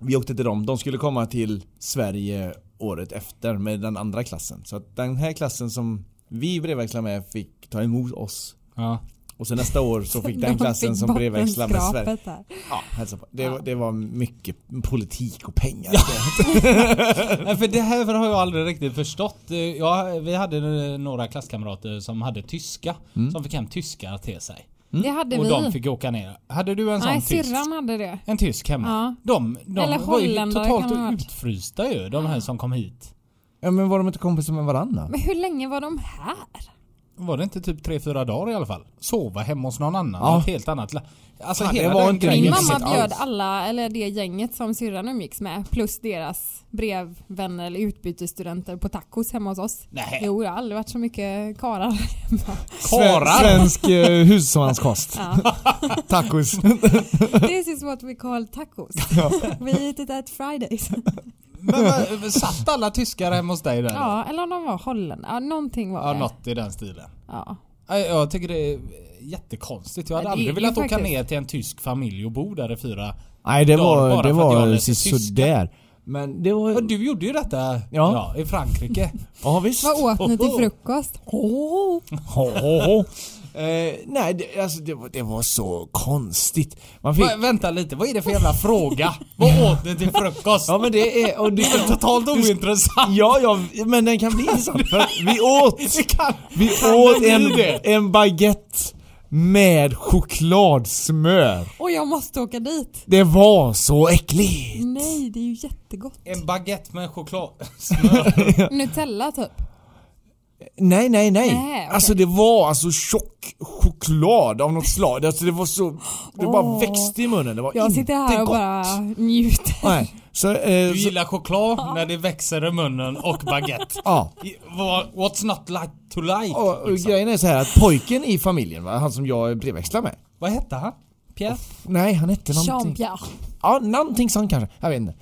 [SPEAKER 1] Vi åkte till dem. De skulle komma till Sverige året efter med den andra klassen. Så att den här klassen som vi brevväxlade med fick ta emot oss.
[SPEAKER 2] Ja.
[SPEAKER 1] Och sen nästa år så fick
[SPEAKER 3] De
[SPEAKER 1] den klassen
[SPEAKER 3] fick
[SPEAKER 1] som brevväxlade med Sverige.
[SPEAKER 3] bottenskrapet där.
[SPEAKER 1] Ja, hälsa på. Det, var- det var mycket politik och pengar.
[SPEAKER 2] Nej, för det här har jag aldrig riktigt förstått. Eh, Ja, vi hade eh, några klasskamrater som hade tyska.
[SPEAKER 1] Mm.
[SPEAKER 2] Som fick hem tyskar till sig.
[SPEAKER 3] Det hade
[SPEAKER 2] Och
[SPEAKER 3] vi.
[SPEAKER 2] de fick åka ner. Hade du en sån
[SPEAKER 3] Nej,
[SPEAKER 2] tysk?
[SPEAKER 3] syrran hade det.
[SPEAKER 2] En tysk hemma?
[SPEAKER 3] Ja.
[SPEAKER 2] De, de
[SPEAKER 3] Eller
[SPEAKER 2] var ju
[SPEAKER 3] holländare kan det ha
[SPEAKER 2] totalt
[SPEAKER 3] varit.
[SPEAKER 2] utfrysta ju, de här som kom hit.
[SPEAKER 1] Ja men var de inte kompisar med varandra?
[SPEAKER 3] Men hur länge var de här?
[SPEAKER 2] Var det inte typ 3-4 dagar i alla fall? Sova hemma hos någon annan
[SPEAKER 1] Ja.
[SPEAKER 2] i ett helt annat land. Alltså
[SPEAKER 1] Fan, det
[SPEAKER 2] hela
[SPEAKER 1] var
[SPEAKER 2] den
[SPEAKER 1] inte
[SPEAKER 2] grejen.
[SPEAKER 3] Min
[SPEAKER 1] minns
[SPEAKER 3] mamma
[SPEAKER 1] inte alls.
[SPEAKER 3] bjöd alla, eller det gänget som syrran umgicks med, plus deras brevvänner eller utbytesstudenter på tacos hemma hos oss.
[SPEAKER 2] Nej.
[SPEAKER 3] Jo, det har aldrig varit så mycket karar hemma.
[SPEAKER 1] Sven-
[SPEAKER 2] Karar!
[SPEAKER 1] Svensk eh, husmanskost. Tacos.
[SPEAKER 3] This is what we call tacos. we eat it at Fridays.
[SPEAKER 2] Men, vad- satt alla tyskar hemma hos dig där?
[SPEAKER 3] ja, eller om de var holländare. Ja, någonting var
[SPEAKER 2] ja
[SPEAKER 3] det.
[SPEAKER 2] något i den stilen.
[SPEAKER 3] Ja.
[SPEAKER 2] Nej, Jag tycker det är jättekonstigt. Jag hade
[SPEAKER 3] Ja, det är
[SPEAKER 2] aldrig velat
[SPEAKER 3] ju
[SPEAKER 2] åka
[SPEAKER 3] faktiskt-
[SPEAKER 2] ner till en tysk familj och bo där i fyra...
[SPEAKER 1] Nej det
[SPEAKER 2] Dagar bara
[SPEAKER 1] var, det
[SPEAKER 2] för att jag
[SPEAKER 1] var
[SPEAKER 2] läser tyska.
[SPEAKER 1] sådär. Men det
[SPEAKER 2] Ja,
[SPEAKER 1] var...
[SPEAKER 2] Du gjorde ju detta ja. i Frankrike.
[SPEAKER 1] Ja visst.
[SPEAKER 3] Vad åt ni till frukost?
[SPEAKER 1] Oh. Oh, oh, oh. Eh, nej, det, alltså, det, var, det var så konstigt. Man fick...
[SPEAKER 2] Va, vänta lite, vad är det för jävla fråga? Vad åt ni till frukost?
[SPEAKER 1] Ja men det är... Och det är
[SPEAKER 2] Totalt ointressant.
[SPEAKER 1] Ja, ja, men den kan bli intressant. För att vi åt,
[SPEAKER 2] Det kan...
[SPEAKER 1] vi
[SPEAKER 2] kan
[SPEAKER 1] åt
[SPEAKER 2] bli
[SPEAKER 1] en,
[SPEAKER 2] det.
[SPEAKER 1] en baguette med chokladsmör.
[SPEAKER 3] Och jag måste åka dit.
[SPEAKER 1] Det var så äckligt.
[SPEAKER 3] Nej, det är ju jättegott.
[SPEAKER 2] En baguette med chokladsmör.
[SPEAKER 3] Nutella typ.
[SPEAKER 1] Nej, nej, nej.
[SPEAKER 3] Nej, okej.
[SPEAKER 1] Alltså det var alltså tjock choklad av något slag. Alltså det var så... Det bara växte i munnen. Det var
[SPEAKER 3] Jag
[SPEAKER 1] inte
[SPEAKER 3] sitter här och
[SPEAKER 1] gott.
[SPEAKER 3] bara njuter.
[SPEAKER 1] Nej, så... Eh,
[SPEAKER 2] Du
[SPEAKER 1] så
[SPEAKER 2] gillar choklad när det växer i munnen och baguette.
[SPEAKER 1] ja.
[SPEAKER 2] I- vad- What's not like to like?
[SPEAKER 1] Och, och
[SPEAKER 2] liksom?
[SPEAKER 1] grejen är så här att pojken i familjen, va? han som jag brevväxlar med.
[SPEAKER 2] Vad hette han? Pierre?
[SPEAKER 1] Nej, han hette någonting.
[SPEAKER 3] Jean-Pierre.
[SPEAKER 1] Ja, någonting sånt kanske. Jag vet inte.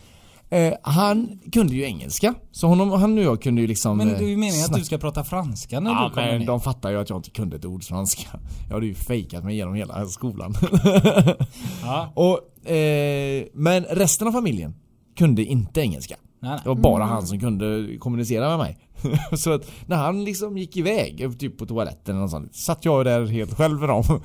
[SPEAKER 1] Eh, han kunde ju engelska. Så honom, han och jag kunde ju liksom...
[SPEAKER 2] Men det
[SPEAKER 1] eh,
[SPEAKER 2] är ju meningen att
[SPEAKER 1] snack-
[SPEAKER 2] du ska prata franska när
[SPEAKER 1] Ja
[SPEAKER 2] du kommer
[SPEAKER 1] men
[SPEAKER 2] ner.
[SPEAKER 1] de fattar ju att jag inte kunde ett ord franska. Jag hade ju fejkat mig genom hela skolan.
[SPEAKER 2] Ja.
[SPEAKER 1] och, eh, men resten av familjen kunde inte engelska.
[SPEAKER 2] Nej, Mm. nej.
[SPEAKER 1] Det var bara han som kunde kommunicera med mig. så att när han liksom gick iväg, typ på toaletten eller något sånt, satt jag där helt själv med dem.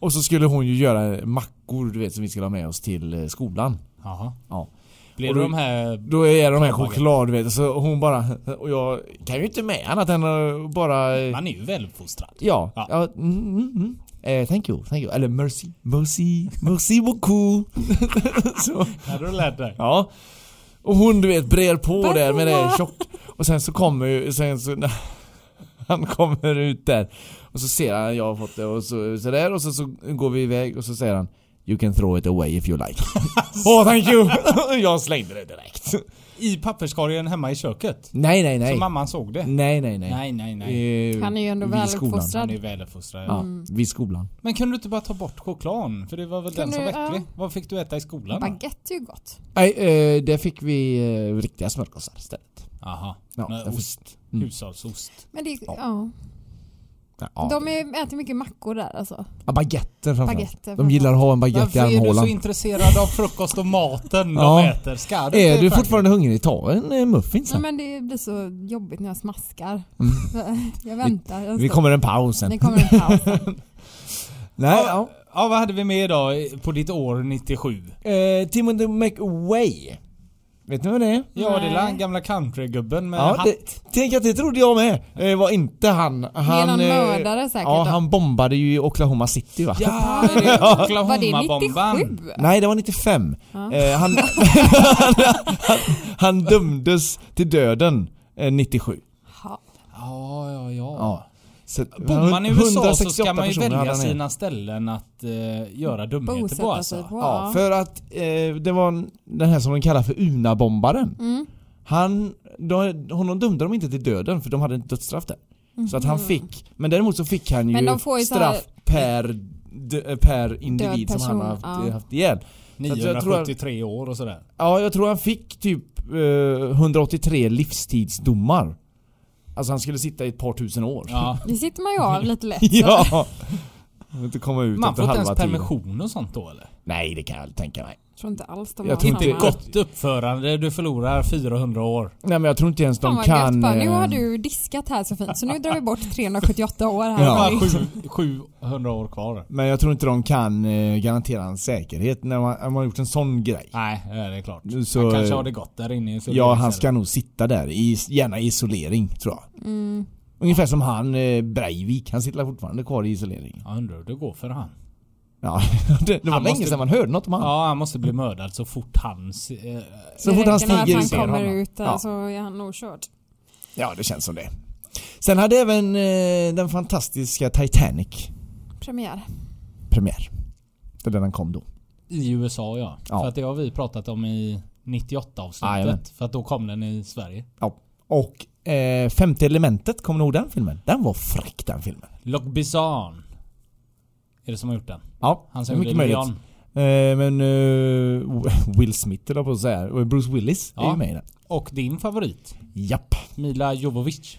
[SPEAKER 1] Och så skulle hon ju göra mackor du vet som vi skulle ha med oss till eh, skolan.
[SPEAKER 2] Jaha.
[SPEAKER 1] Ja.
[SPEAKER 2] Blir
[SPEAKER 1] Och
[SPEAKER 2] det
[SPEAKER 1] då-
[SPEAKER 2] de här...
[SPEAKER 1] Då är de här
[SPEAKER 2] Påbaget.
[SPEAKER 1] choklad vet du, så hon bara... Och jag kan ju inte med annat än att bara... eh,
[SPEAKER 2] Man är ju väluppfostrad.
[SPEAKER 1] Ja.
[SPEAKER 2] Ja.
[SPEAKER 1] ja. mm, mm, mm. Eh, thank you, thank you. Eller merci, merci, merci beaucoup. så,
[SPEAKER 2] Hade du lärt dig?
[SPEAKER 1] ja. Och hon du vet brer på där med det
[SPEAKER 3] Varsågod.
[SPEAKER 1] tjock. Och sen så kommer ju, sen så när han kommer ut där. Och så ser han, jag har fått det och så, så där och så, så går vi iväg och så säger han You can throw it away if you like. Åh, thank you! jag slängde det direkt.
[SPEAKER 2] I papperskorgen hemma i köket.
[SPEAKER 1] Nej, nej,
[SPEAKER 2] Så
[SPEAKER 1] nej.
[SPEAKER 2] mamman såg det.
[SPEAKER 1] Nej, nej, nej.
[SPEAKER 2] Nej, nej, nej.
[SPEAKER 1] Eh,
[SPEAKER 3] Han är ju ändå
[SPEAKER 1] vid skolan.
[SPEAKER 2] Han
[SPEAKER 3] väluppfostrad.
[SPEAKER 2] är väluppfostrad.
[SPEAKER 1] Ja, vid skolan.
[SPEAKER 2] Men kunde du inte bara ta bort chokladen? För det var väl
[SPEAKER 3] Kunde
[SPEAKER 2] den som
[SPEAKER 3] du-
[SPEAKER 2] var äcklig?
[SPEAKER 3] ja.
[SPEAKER 2] Vad fick du äta i skolan? då?
[SPEAKER 3] Baguette är ju gott.
[SPEAKER 1] Nej, eh, där fick vi eh, riktiga smörgåsar istället.
[SPEAKER 2] Jaha.
[SPEAKER 1] Ja,
[SPEAKER 2] Med
[SPEAKER 1] jag fick-
[SPEAKER 2] ost.
[SPEAKER 1] Mm.
[SPEAKER 2] Hushållsost.
[SPEAKER 3] Men det, ja.
[SPEAKER 1] Ja.
[SPEAKER 3] De är, äter mycket mackor där alltså.
[SPEAKER 1] Ja, baguetter framförallt.
[SPEAKER 3] Baguetter
[SPEAKER 1] de
[SPEAKER 3] framförallt.
[SPEAKER 1] gillar att ha en baguette
[SPEAKER 2] Varför
[SPEAKER 1] i
[SPEAKER 2] är du så
[SPEAKER 1] armhålan.
[SPEAKER 2] intresserad av frukost och maten
[SPEAKER 1] Ja.
[SPEAKER 2] de äter? Ska du
[SPEAKER 1] Är
[SPEAKER 2] till
[SPEAKER 1] du
[SPEAKER 2] Frankrike?
[SPEAKER 1] fortfarande hungrig? Ta en eh, muffins
[SPEAKER 3] Nej,
[SPEAKER 1] här.
[SPEAKER 3] men det blir så jobbigt när jag smaskar. Jag väntar. en
[SPEAKER 1] Mm. Vi
[SPEAKER 3] stund.
[SPEAKER 1] kommer en paus sen.
[SPEAKER 3] Det kommer en paus.
[SPEAKER 1] Nej, ja.
[SPEAKER 2] Ja, vad hade vi med idag på ditt år 97?
[SPEAKER 1] Eh, Timothy McWay. Vet ni vad det är?
[SPEAKER 2] Ja, det är
[SPEAKER 3] Nej.
[SPEAKER 2] den gamla countrygubben med
[SPEAKER 1] Ja,
[SPEAKER 2] hatt.
[SPEAKER 1] det, tänk att det trodde jag med. Eh, var inte han. han
[SPEAKER 3] någon
[SPEAKER 1] eh,
[SPEAKER 3] mördare säkert
[SPEAKER 1] Ja,
[SPEAKER 3] då.
[SPEAKER 1] han bombade ju i Oklahoma City va?
[SPEAKER 2] Ja, är det
[SPEAKER 3] Var det
[SPEAKER 2] Oklahoma-bomban?
[SPEAKER 3] 97?
[SPEAKER 1] Nej, det var 95. Eh, han, han, han dömdes till döden eh, 97.
[SPEAKER 3] Ja.
[SPEAKER 2] Ja, ja, ja.
[SPEAKER 1] Ja. Så,
[SPEAKER 2] Bor man i USA så ska
[SPEAKER 1] 168
[SPEAKER 2] man ju
[SPEAKER 1] personer hade
[SPEAKER 2] välja
[SPEAKER 1] han med.
[SPEAKER 2] sina ställen att eh, göra dumheter på
[SPEAKER 3] Bosätta sig
[SPEAKER 2] alltså.
[SPEAKER 3] på.
[SPEAKER 1] Ja,
[SPEAKER 3] Ja.
[SPEAKER 1] för att eh, det var en- den här som de kallar för Una-bombaren.
[SPEAKER 3] Mm.
[SPEAKER 1] Han, då, honom dömde de inte till döden för de hade inte dödsstraff där. Så att han
[SPEAKER 3] Mm.
[SPEAKER 1] fick, men däremot så fick han
[SPEAKER 3] Men
[SPEAKER 1] ju,
[SPEAKER 3] de får ju så här-
[SPEAKER 1] straff per, d- per individ som han har haft,
[SPEAKER 3] person, ja.
[SPEAKER 1] haft ihjäl. Så att jag tror han-
[SPEAKER 2] 973 år och sådär.
[SPEAKER 1] Ja, jag tror han fick typ eh, 183 livstidsdomar. Alltså han skulle sitta i ett par tusen år.
[SPEAKER 2] Ja.
[SPEAKER 3] Det sitter man ju av lite lätt.
[SPEAKER 1] ja. Jag vill Inte komma ut
[SPEAKER 2] Man
[SPEAKER 1] efter
[SPEAKER 2] får inte
[SPEAKER 1] halva
[SPEAKER 2] ens
[SPEAKER 1] tiden.
[SPEAKER 2] permission och sånt då eller?
[SPEAKER 1] Nej, det kan jag aldrig tänka mig.
[SPEAKER 3] Jag tror inte alls de
[SPEAKER 1] Jag
[SPEAKER 3] har
[SPEAKER 1] tror inte
[SPEAKER 2] Inte
[SPEAKER 3] samma.
[SPEAKER 1] Ja.
[SPEAKER 2] gott uppförande, du förlorar 400 år.
[SPEAKER 1] Nej men jag tror inte ens de
[SPEAKER 3] Fan vad
[SPEAKER 1] kan...
[SPEAKER 3] gött bara, nu
[SPEAKER 1] eh,
[SPEAKER 3] har du diskat här så fint så nu drar vi bort 378 år här.
[SPEAKER 1] Ja.
[SPEAKER 2] Ja. 700 år kvar.
[SPEAKER 1] Men jag tror inte de kan eh, garantera hans säkerhet när man, när man har gjort en sån grej.
[SPEAKER 2] Nej, det är klart.
[SPEAKER 1] Så,
[SPEAKER 2] han kanske
[SPEAKER 1] eh,
[SPEAKER 2] har det gott där inne i
[SPEAKER 1] Ja, han ska
[SPEAKER 2] isoleringscellen.
[SPEAKER 1] nog sitta där, i, gärna i isolering tror jag.
[SPEAKER 3] Mm.
[SPEAKER 1] Ungefär som han eh, Breivik, han sitter fortfarande kvar i isolering.
[SPEAKER 2] Jag undrar hur det går för han.
[SPEAKER 1] Ja, det, det var
[SPEAKER 2] Han
[SPEAKER 1] länge
[SPEAKER 2] måste-
[SPEAKER 1] sedan man hörde något om han.
[SPEAKER 2] Ja, han måste bli mördad så fort hans... Eh,
[SPEAKER 1] Så fort han
[SPEAKER 3] Det räcker
[SPEAKER 1] stiger
[SPEAKER 3] när
[SPEAKER 1] ut ser
[SPEAKER 3] han kommer
[SPEAKER 1] honom.
[SPEAKER 3] ut alltså? där
[SPEAKER 1] Ja.
[SPEAKER 3] så är han nog körd.
[SPEAKER 1] Ja, det känns som det. Sen hade även eh, den fantastiska Titanic
[SPEAKER 3] Premiär.
[SPEAKER 1] premiär. För den kom då.
[SPEAKER 2] I USA ja.
[SPEAKER 1] Ja.
[SPEAKER 2] För att det har vi pratat om i 98
[SPEAKER 1] Jajamän.
[SPEAKER 2] avsnittet. För att då kom den i Sverige.
[SPEAKER 1] Ja. Och eh, Femte elementet, kommer ni ihåg den filmen? Den var fräck den filmen.
[SPEAKER 2] Loch Bizarre. Är det som har gjort den?
[SPEAKER 1] Ja,
[SPEAKER 2] Han
[SPEAKER 1] det
[SPEAKER 2] som
[SPEAKER 1] är
[SPEAKER 2] gjorde
[SPEAKER 1] mycket möjligt. Eh,
[SPEAKER 2] Leon.
[SPEAKER 1] men eh, Will Smith eller på att säga. Och Bruce Willis är
[SPEAKER 2] Ja.
[SPEAKER 1] ju med i den.
[SPEAKER 2] Och din favorit?
[SPEAKER 1] Japp.
[SPEAKER 2] Mila Jovovich.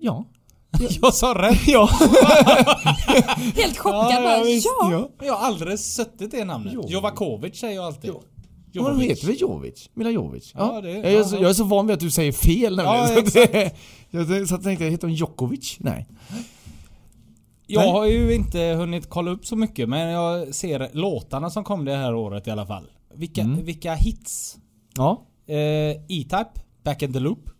[SPEAKER 1] Ja.
[SPEAKER 2] Jag sa rätt!
[SPEAKER 1] Ja.
[SPEAKER 3] Helt chockad
[SPEAKER 2] Ja,
[SPEAKER 3] bara,
[SPEAKER 2] ja, visst,
[SPEAKER 3] ja!
[SPEAKER 1] ja.
[SPEAKER 2] Jag har aldrig suttit det namnet.
[SPEAKER 1] Jo.
[SPEAKER 2] Jovakovic säger jag alltid. Jo.
[SPEAKER 1] Hon heter väl Jovic? Mila Jovic?
[SPEAKER 2] Ja, det-
[SPEAKER 1] jag, är så,
[SPEAKER 2] ja.
[SPEAKER 1] jag är så van vid att du säger fel
[SPEAKER 2] Ja,
[SPEAKER 1] nämligen. så, att det, jag, så att jag tänkte, heter hon Djokovic? Nej.
[SPEAKER 2] Jag har ju inte hunnit kolla upp så mycket men jag ser låtarna som kom det här året i alla fall. Vilka,
[SPEAKER 1] Mm.
[SPEAKER 2] vilka hits?
[SPEAKER 1] Ja.
[SPEAKER 2] Eh, E-Type, Back in the Loop.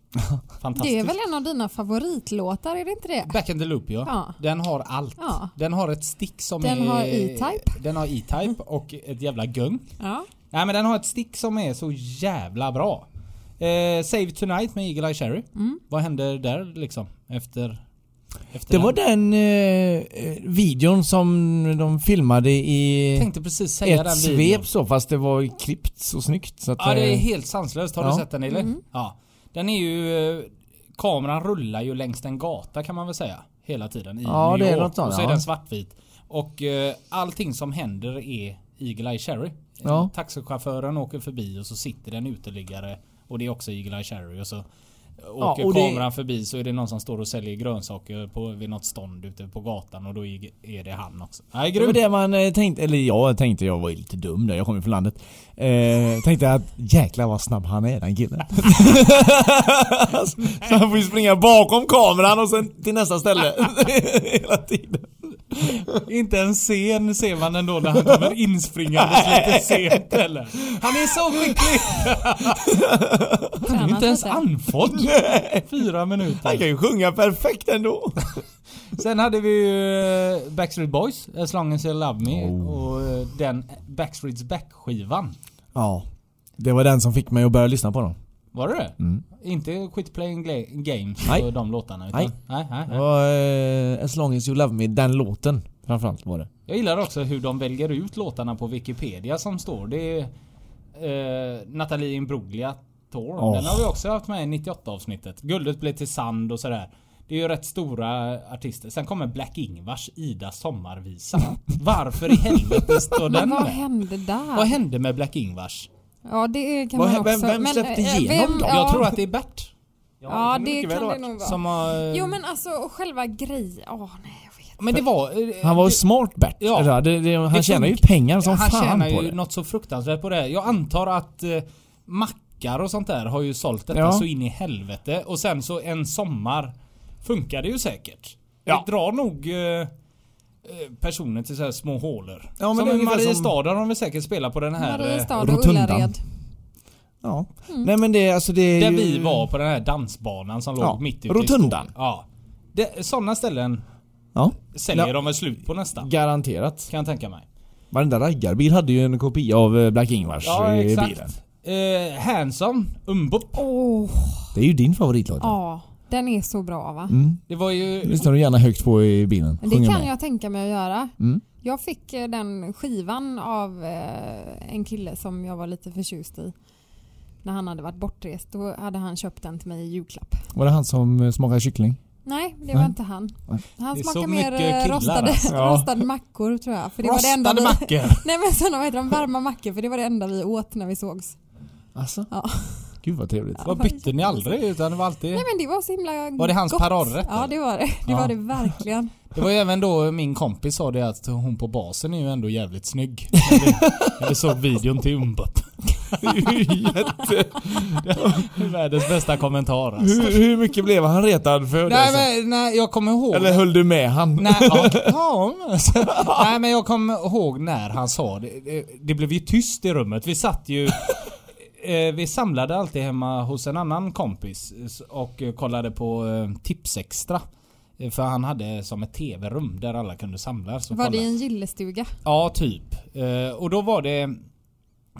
[SPEAKER 2] Fantastiskt.
[SPEAKER 3] Det är väl en av dina favoritlåtar, är det inte det?
[SPEAKER 2] Back in the Loop ja.
[SPEAKER 3] Ja.
[SPEAKER 2] Den har allt.
[SPEAKER 3] Ja.
[SPEAKER 2] Den har ett stick som
[SPEAKER 3] Den
[SPEAKER 2] är...
[SPEAKER 3] har E-Type. Mm.
[SPEAKER 2] Den har E-Type och ett jävla gung.
[SPEAKER 3] Ja.
[SPEAKER 2] Nej men den har ett stick som är så jävla bra. Eh, Save Tonight med Eagle Eye Cherry.
[SPEAKER 3] Mm.
[SPEAKER 2] Vad hände där liksom? Efter... efter
[SPEAKER 1] Det var
[SPEAKER 2] den?
[SPEAKER 1] den eh, videon som de filmade i
[SPEAKER 2] Jag tänkte precis säga
[SPEAKER 1] ett
[SPEAKER 2] den videon.
[SPEAKER 1] svep så fast det var klippt så snyggt. Så att,
[SPEAKER 2] Ja det är
[SPEAKER 1] eh,
[SPEAKER 2] helt sanslöst. Har
[SPEAKER 1] Ja.
[SPEAKER 2] du sett den eller? Ja. Den är ju... eh, Kameran rullar ju längs en gata kan man väl säga. Hela tiden i
[SPEAKER 1] Ja,
[SPEAKER 2] New
[SPEAKER 1] det är
[SPEAKER 2] York.
[SPEAKER 1] något sånt,
[SPEAKER 2] och så är
[SPEAKER 1] ja.
[SPEAKER 2] den svartvit. Och eh, allting som händer är Eagle Eye Cherry.
[SPEAKER 1] Ja.
[SPEAKER 2] Taxichauffören åker förbi och så sitter den uteliggare. Och det är också Eagle Eye Cherry. Och så
[SPEAKER 1] Ja,
[SPEAKER 2] åker
[SPEAKER 1] och det-
[SPEAKER 2] kameran förbi så är det någon som står och säljer grönsaker på, vid något stånd ute på gatan. Och då är är det han också. Nej,
[SPEAKER 1] Det var
[SPEAKER 2] grymt.
[SPEAKER 1] det man eh, tänkte, eller jag tänkte, jag var ju lite dum där, jag kommer ju från landet. Eh, tänkte att jäklar vad snabb han är den killen. så han får ju springa bakom kameran och sen till nästa ställe. Hela tiden.
[SPEAKER 2] Inte en scen ser man ändå när han kommer inspringandes lite sent heller. Han är så skicklig! Han är
[SPEAKER 3] Tränat
[SPEAKER 2] inte ens
[SPEAKER 3] lite.
[SPEAKER 2] andfådd. Fyra
[SPEAKER 1] Han
[SPEAKER 2] minuter.
[SPEAKER 1] kan ju sjunga perfekt ändå.
[SPEAKER 2] Sen hade vi ju eh, Backstreet Boys, As long as you love me. Och eh, den Backstreets Back-skivan.
[SPEAKER 1] Ja. Det var den som fick mig att börja lyssna på dem.
[SPEAKER 2] Var det det? Inte Quit Playing Gla- Games
[SPEAKER 1] Nej.
[SPEAKER 2] och de låtarna. Utan,
[SPEAKER 1] Nej.
[SPEAKER 2] Nej, nej,
[SPEAKER 1] Det
[SPEAKER 2] nej.
[SPEAKER 1] var eh, As long as you love me, den låten framförallt var det.
[SPEAKER 2] Jag gillar också hur de väljer ut låtarna på Wikipedia som står. Det är eh, Nathalie Imbruglia Tour.
[SPEAKER 1] Åh.
[SPEAKER 2] Den har vi också haft med i 98 avsnittet. Guldet blev till sand och sådär. Det är ju rätt stora artister. Sen kommer Black-Ingvars Ida sommarvisa. Varför i helvete står den
[SPEAKER 3] Men vad
[SPEAKER 2] med?
[SPEAKER 3] hände där?
[SPEAKER 2] Vad hände med Black-Ingvars?
[SPEAKER 3] Ja det kan
[SPEAKER 1] Vad
[SPEAKER 3] man
[SPEAKER 1] hä- vem-
[SPEAKER 3] också.
[SPEAKER 1] vem släppte
[SPEAKER 3] eh,
[SPEAKER 1] igenom dem?
[SPEAKER 3] ja,
[SPEAKER 2] Jag tror att det är Bert.
[SPEAKER 3] Ja det kan det nog vara.
[SPEAKER 2] Som eh, har...
[SPEAKER 3] Jo men alltså och själva grejen. Åh nej jag vet.
[SPEAKER 2] Men det var... eh,
[SPEAKER 1] Han var ju smart Bert.
[SPEAKER 2] Ja.
[SPEAKER 1] Eller, det, det, han
[SPEAKER 2] Det
[SPEAKER 1] tjänar ju
[SPEAKER 2] funkar.
[SPEAKER 1] pengar som
[SPEAKER 2] han
[SPEAKER 1] fan
[SPEAKER 2] tjänar
[SPEAKER 1] på
[SPEAKER 2] ju
[SPEAKER 1] det.
[SPEAKER 2] något så fruktansvärt på det. här. Jag antar att eh, mackar och sånt där har ju sålt detta
[SPEAKER 1] Ja.
[SPEAKER 2] så in i helvete. Och sen så en sommar funkar det ju säkert.
[SPEAKER 1] Ja.
[SPEAKER 2] Det drar nog eh, eh, personer till så här små hålor.
[SPEAKER 1] Ja, men det är
[SPEAKER 2] som i
[SPEAKER 1] ungefär som-
[SPEAKER 2] Mariestad har de väl säkert spelat på den här... eh,
[SPEAKER 3] Mariestad och
[SPEAKER 1] Rotundan.
[SPEAKER 3] Ullared.
[SPEAKER 1] Ja. Nej men det, alltså det är
[SPEAKER 2] Där
[SPEAKER 1] ju...
[SPEAKER 2] vi var på den här dansbanan som låg
[SPEAKER 1] Ja,
[SPEAKER 2] mitt ute i
[SPEAKER 1] Rotundan.
[SPEAKER 2] skogen. Ja. Det, sådana ställen
[SPEAKER 1] Ja.
[SPEAKER 2] säljer
[SPEAKER 1] Ja.
[SPEAKER 2] de väl slut på nästan.
[SPEAKER 1] Garanterat.
[SPEAKER 2] Kan jag tänka mig.
[SPEAKER 1] Varenda raggarbil hade ju en kopia av eh, Black Ingvars
[SPEAKER 2] Ja,
[SPEAKER 1] i
[SPEAKER 2] exakt.
[SPEAKER 1] bilen.
[SPEAKER 2] Eh, Hanson, Umbo.
[SPEAKER 3] Åh
[SPEAKER 1] Det är ju din favoritlåt.
[SPEAKER 3] ja. Den är så bra va?
[SPEAKER 2] Det var ju
[SPEAKER 1] Det lyssnar du gärna högt på i bilen.
[SPEAKER 3] Men det
[SPEAKER 1] Mm, Sjunger
[SPEAKER 3] kan
[SPEAKER 1] med.
[SPEAKER 3] jag tänka mig att göra. Jag fick eh, den skivan av eh, en kille som jag var lite förtjust i. När han hade varit bortrest. Då hade han köpt den till mig i julklapp.
[SPEAKER 1] Var det han som eh, smakade kyckling?
[SPEAKER 3] Nej, det
[SPEAKER 1] Nej.
[SPEAKER 3] var inte han. Han
[SPEAKER 2] Det är
[SPEAKER 3] smakade
[SPEAKER 2] så
[SPEAKER 3] mer
[SPEAKER 2] mycket killar,
[SPEAKER 3] eh, rostade,
[SPEAKER 2] alltså.
[SPEAKER 1] Ja.
[SPEAKER 3] rostade mackor tror jag. För det var det enda
[SPEAKER 2] rostade
[SPEAKER 3] vi,
[SPEAKER 2] mackor.
[SPEAKER 3] Nej men sådana, vad heter de? Varma mackor. För det var det enda vi åt när vi sågs.
[SPEAKER 1] Alltså?
[SPEAKER 3] Ja.
[SPEAKER 1] Gud vad trevligt.
[SPEAKER 2] Vad bytte ni aldrig utan det var alltid...
[SPEAKER 3] Nej men det var så himla
[SPEAKER 2] Var det hans
[SPEAKER 3] gott.
[SPEAKER 2] paradrätt,
[SPEAKER 3] Ja det var det. Det
[SPEAKER 2] Ja.
[SPEAKER 3] var det verkligen.
[SPEAKER 2] Det var ju även då min kompis sa det att hon på basen är ju ändå jävligt snygg. När vi- När vi såg videon till Umbop. Det är Världens bästa kommentar alltså.
[SPEAKER 1] hur, hur mycket blev han retad för det? sen?
[SPEAKER 2] Nej men nej, jag kommer ihåg.
[SPEAKER 1] Eller höll du med han?
[SPEAKER 2] Nej, ja, ja, men- nej men jag kommer ihåg när han sa det. det. Det blev ju tyst i rummet. Vi satt ju... eh, Vi samlade alltid hemma hos en annan kompis eh, och eh, kollade på eh, Tipsextra. Eh, För han hade som ett tv-rum där alla kunde samlas. och
[SPEAKER 3] Var det
[SPEAKER 2] kolla.
[SPEAKER 3] i en gillestuga?
[SPEAKER 2] Ja, typ. Eh, Och då var det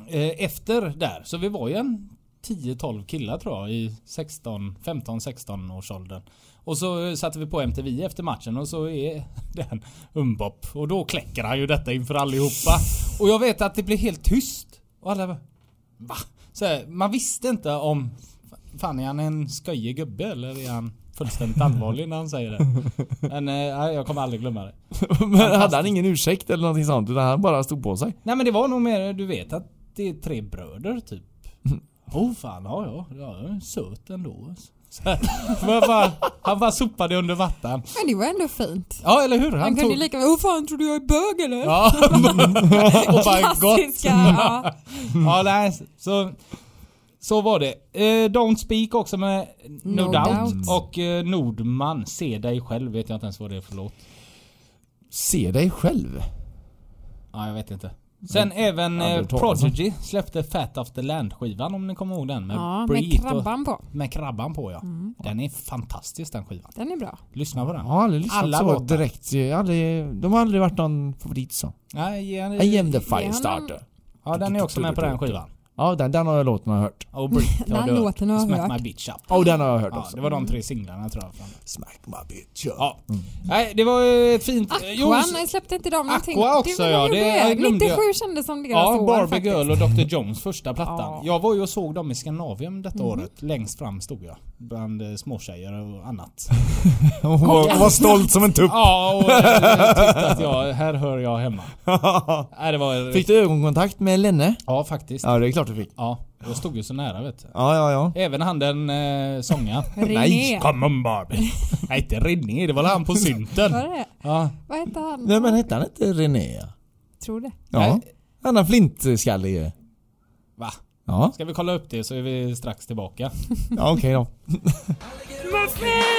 [SPEAKER 2] eh, efter där, så vi var ju en 10-12 killar tror jag i 16, 15-16 års åldern. Och så eh, satte vi på MTV efter matchen och så är den Umbop. Och då kläcker han ju detta inför allihopa. Och jag vet att det blev helt tyst. Och alla bara, va? Så här, man visste inte om... Fan är han en skojig gubbe eller är han fullständigt allvarlig när han säger det? Men eh, nej, jag kommer aldrig glömma det.
[SPEAKER 1] men hade han ingen ursäkt eller någonting sånt utan han bara stod på sig?
[SPEAKER 2] Nej men det var nog mer, du vet att det är tre bröder typ. Åh oh, fan, ja ja, jag är söt ändå. Så här, men jag bara, han bara sopade under vatten.
[SPEAKER 3] Men det var ändå fint.
[SPEAKER 2] Ja eller hur?
[SPEAKER 3] Han
[SPEAKER 2] Han
[SPEAKER 3] kunde
[SPEAKER 2] tog...
[SPEAKER 3] ju lika väl, åh fan tror du jag är bög eller?
[SPEAKER 2] Ja, och bara gott.
[SPEAKER 3] Klassiska, ja.
[SPEAKER 2] Ja nej, så... Så var det. Eh, Don't Speak också med No,
[SPEAKER 3] No
[SPEAKER 2] doubt.
[SPEAKER 3] Doubt.
[SPEAKER 2] Och eh, Nordman, Se dig själv vet jag inte ens vad det är för låt.
[SPEAKER 1] Se dig själv.
[SPEAKER 2] Ja, jag vet inte. Sen även eh,
[SPEAKER 1] aldrig hört talas om.
[SPEAKER 2] Prodigy släppte Fat of the Land skivan om ni kommer ihåg den. Med
[SPEAKER 3] ja
[SPEAKER 2] Breathe
[SPEAKER 3] med
[SPEAKER 2] och-
[SPEAKER 3] krabban på.
[SPEAKER 2] Med krabban på ja. Den är fantastisk den skivan.
[SPEAKER 3] Den är bra.
[SPEAKER 2] Lyssna på
[SPEAKER 1] Jag
[SPEAKER 2] den.
[SPEAKER 1] har aldrig lyssnat
[SPEAKER 2] Alla
[SPEAKER 1] så
[SPEAKER 2] låtar.
[SPEAKER 1] direkt. Jag har aldrig, de har aldrig varit någon favorit så.
[SPEAKER 2] Nej,
[SPEAKER 1] I am
[SPEAKER 2] igen,
[SPEAKER 1] the firestarter.
[SPEAKER 2] ja, den är också med på den skivan.
[SPEAKER 1] Ja den, den har jag låten har hört.
[SPEAKER 2] Och Breathe
[SPEAKER 3] Den
[SPEAKER 2] har du hört.
[SPEAKER 3] låten har jag
[SPEAKER 2] Smack
[SPEAKER 3] hört.
[SPEAKER 2] my bitch up.
[SPEAKER 1] Och den har jag hört
[SPEAKER 2] Ja,
[SPEAKER 1] också.
[SPEAKER 2] det var de tre singlarna tror jag. från-
[SPEAKER 1] Smack my bitch up.
[SPEAKER 2] Ja. Nej, det var ju ett fint...
[SPEAKER 3] Aqua,
[SPEAKER 2] Eh, Jo, s-
[SPEAKER 3] nej släppte inte de någonting?
[SPEAKER 2] Aqua också,
[SPEAKER 3] var
[SPEAKER 2] ja,
[SPEAKER 3] väl
[SPEAKER 2] det- jag glömde-
[SPEAKER 3] 97 kändes som deras
[SPEAKER 2] Ja,
[SPEAKER 3] år
[SPEAKER 2] Barbie
[SPEAKER 3] faktiskt.
[SPEAKER 2] Girl och Dr. Jones första plattan.
[SPEAKER 3] Ja. Mm.
[SPEAKER 2] Jag var ju och såg dem i Skandinavien detta året. Längst fram stod jag. Bland eh, småtjejer och annat.
[SPEAKER 1] Hon var, hon var stolt som en tupp.
[SPEAKER 2] Ja, och jag tyckte att jag, här hör jag hemma. Nej, det var...
[SPEAKER 1] Fick du ögonkontakt med Lenne?
[SPEAKER 2] Ja, faktiskt.
[SPEAKER 1] Ja det är klart du fick.
[SPEAKER 2] Ja, jag stod ju så nära vet du.
[SPEAKER 1] Ja ja ja.
[SPEAKER 2] Även han den eh, sångaren.
[SPEAKER 3] René. Nej,
[SPEAKER 2] Come on Barbie. Nej inte René, det var han på synten.
[SPEAKER 3] Var det?
[SPEAKER 2] Ja.
[SPEAKER 3] Vad hette han?
[SPEAKER 1] Nej men hette han inte René? ja?
[SPEAKER 3] Tror det.
[SPEAKER 1] Ja. Han har flintskallig ju.
[SPEAKER 2] Va?
[SPEAKER 1] Ja,
[SPEAKER 2] Ska vi kolla upp det så är vi strax tillbaka.
[SPEAKER 1] ja okej då.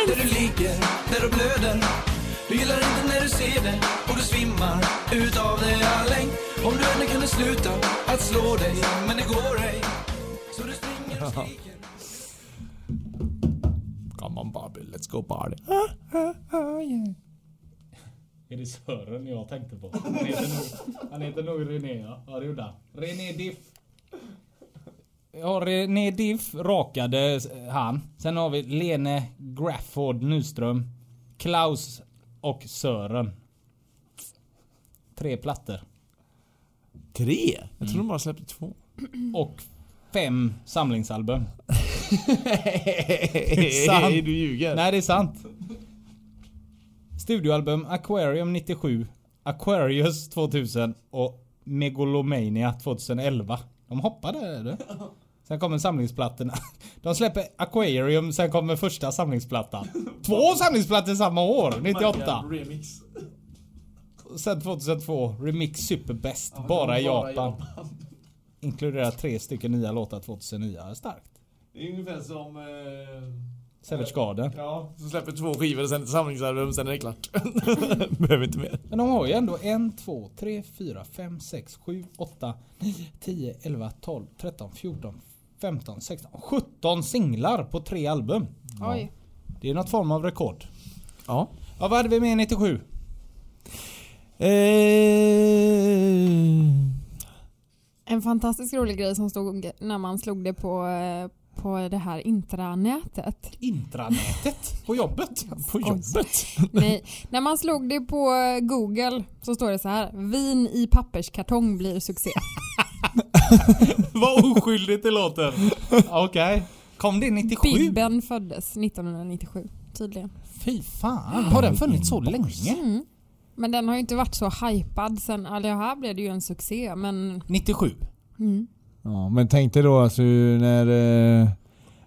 [SPEAKER 4] Där du ligger, där du blöder
[SPEAKER 7] Du gillar inte när du ser det och du svimmar utav det all längd. Om du ännu kunde sluta att slå dig, men det går ej. Så du springer och skriker.
[SPEAKER 1] Come on Barbie, let's go Barbie.
[SPEAKER 2] Är det Sören jag tänkte på? Han heter nog, han heter nog René ja. Ja det gjorde han. René Diff. Ja René Diff rakade eh, han. Sen har vi Lene Grafford Nyström. Klaus och Sören. Tre plattor.
[SPEAKER 1] Tre? Jag trodde de bara släppte två.
[SPEAKER 2] Och fem samlingsalbum.
[SPEAKER 1] Nej, du ljuger.
[SPEAKER 2] Nej det är sant. Studioalbum Aquarium 97, Aquarius 2000 och Megalomania 2011. De hoppade där du. Sen kommer samlingsplattorna. De släpper Aquarium, sen kommer första samlingsplattan. Två samlingsplattor samma år, 98.
[SPEAKER 8] Remix.
[SPEAKER 2] Sen 2002, Remix Superbest,
[SPEAKER 8] Ja,
[SPEAKER 2] bara i
[SPEAKER 8] bara i
[SPEAKER 2] Japan. Inkluderar tre stycken nya låtar 2009. Starkt.
[SPEAKER 8] Det är ungefär som... Eh,
[SPEAKER 2] Savage Garden.
[SPEAKER 8] ja.
[SPEAKER 1] Så släpper två skivor, sen ett samlingsalbum, sen är det klart. Behöver inte mer.
[SPEAKER 2] Men de har ju ändå 1, 2, 3, 4, 5, 6, 7, 8, 9, 10, 11, 12, 13, 14, 15, 16, 17 singlar på tre album.
[SPEAKER 3] Oj.
[SPEAKER 2] Det är något form av rekord.
[SPEAKER 1] Ja.
[SPEAKER 2] Ja, vad hade vi med 97?
[SPEAKER 1] Eh,
[SPEAKER 3] En fantastiskt rolig grej som stod när man slog det på, eh, på det här intranätet.
[SPEAKER 2] Intranätet på jobbet.
[SPEAKER 1] på jobbet.
[SPEAKER 3] Nej, när man slog det på eh, Google så står det så här. Vin i papperskartong blir succé.
[SPEAKER 2] vad oskyldigt det låter. Okej. Kom det 97?
[SPEAKER 3] Bibben föddes 1997 tydligen.
[SPEAKER 2] Fy fan. Har den funnits så länge?
[SPEAKER 1] Mm.
[SPEAKER 3] Men den har ju inte varit så hypad sen, eller här blev det ju en succé men mm,
[SPEAKER 2] 97.
[SPEAKER 1] Ja, men tänk dig då alltså när eh,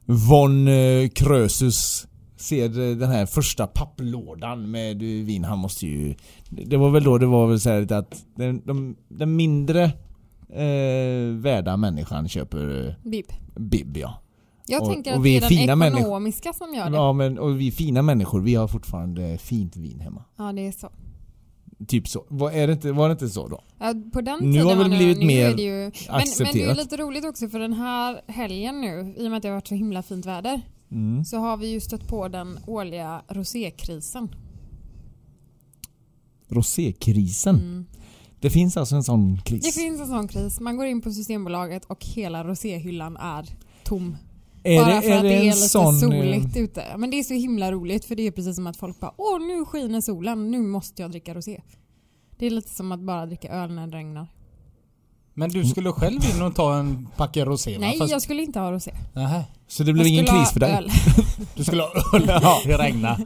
[SPEAKER 1] Von eh, Krösus ser eh, den här första papplådan med eh, vin. Han måste ju... Det det var väl då det var väl så här lite att den, de, den mindre eh, värda människan köper eh,
[SPEAKER 3] Bib.
[SPEAKER 1] Bib ja.
[SPEAKER 3] Jag
[SPEAKER 1] Och-
[SPEAKER 3] tänker
[SPEAKER 1] och
[SPEAKER 3] att
[SPEAKER 1] vi
[SPEAKER 3] det
[SPEAKER 1] är
[SPEAKER 3] är
[SPEAKER 1] fina
[SPEAKER 3] den
[SPEAKER 1] människor.
[SPEAKER 3] ekonomiska som gör det. Ja.
[SPEAKER 1] Ja men och vi fina människor vi har fortfarande fint vin hemma.
[SPEAKER 3] det är så.
[SPEAKER 1] Typ så. Var, är det inte, var det inte så då?
[SPEAKER 3] Ja, på den
[SPEAKER 1] Nu
[SPEAKER 3] tiden
[SPEAKER 1] har väl
[SPEAKER 3] var det-
[SPEAKER 1] blivit
[SPEAKER 3] nu
[SPEAKER 1] mer
[SPEAKER 3] är det ju, men, men det är
[SPEAKER 1] accepterat.
[SPEAKER 3] ju lite roligt också för den här helgen nu, i och med att det har varit så himla fint väder,
[SPEAKER 1] Mm.
[SPEAKER 3] så har vi ju stött på den årliga rosékrisen.
[SPEAKER 1] Rosékrisen. Det finns alltså en sån kris.
[SPEAKER 3] Mm. Det finns en sån kris. Man går in på Systembolaget och hela roséhyllan är tom.
[SPEAKER 1] är
[SPEAKER 3] bara för att det är
[SPEAKER 1] en
[SPEAKER 3] lite
[SPEAKER 1] sån, eh,
[SPEAKER 3] soligt ute. Men det är så himla roligt för det är precis som att folk bara Åh nu skiner solen, nu måste jag dricka rosé. Det är lite som att bara dricka öl när det regnar.
[SPEAKER 2] Men du skulle själv in och ta en packe rosé va?
[SPEAKER 3] Nej
[SPEAKER 2] Fast-
[SPEAKER 3] jag skulle inte ha rosé.
[SPEAKER 2] Nähä.
[SPEAKER 1] Så det
[SPEAKER 3] Jag
[SPEAKER 1] blir ingen
[SPEAKER 3] skulle
[SPEAKER 1] kris
[SPEAKER 3] ha
[SPEAKER 1] för dig?
[SPEAKER 3] öl.
[SPEAKER 2] Du skulle ha öl när det regnar.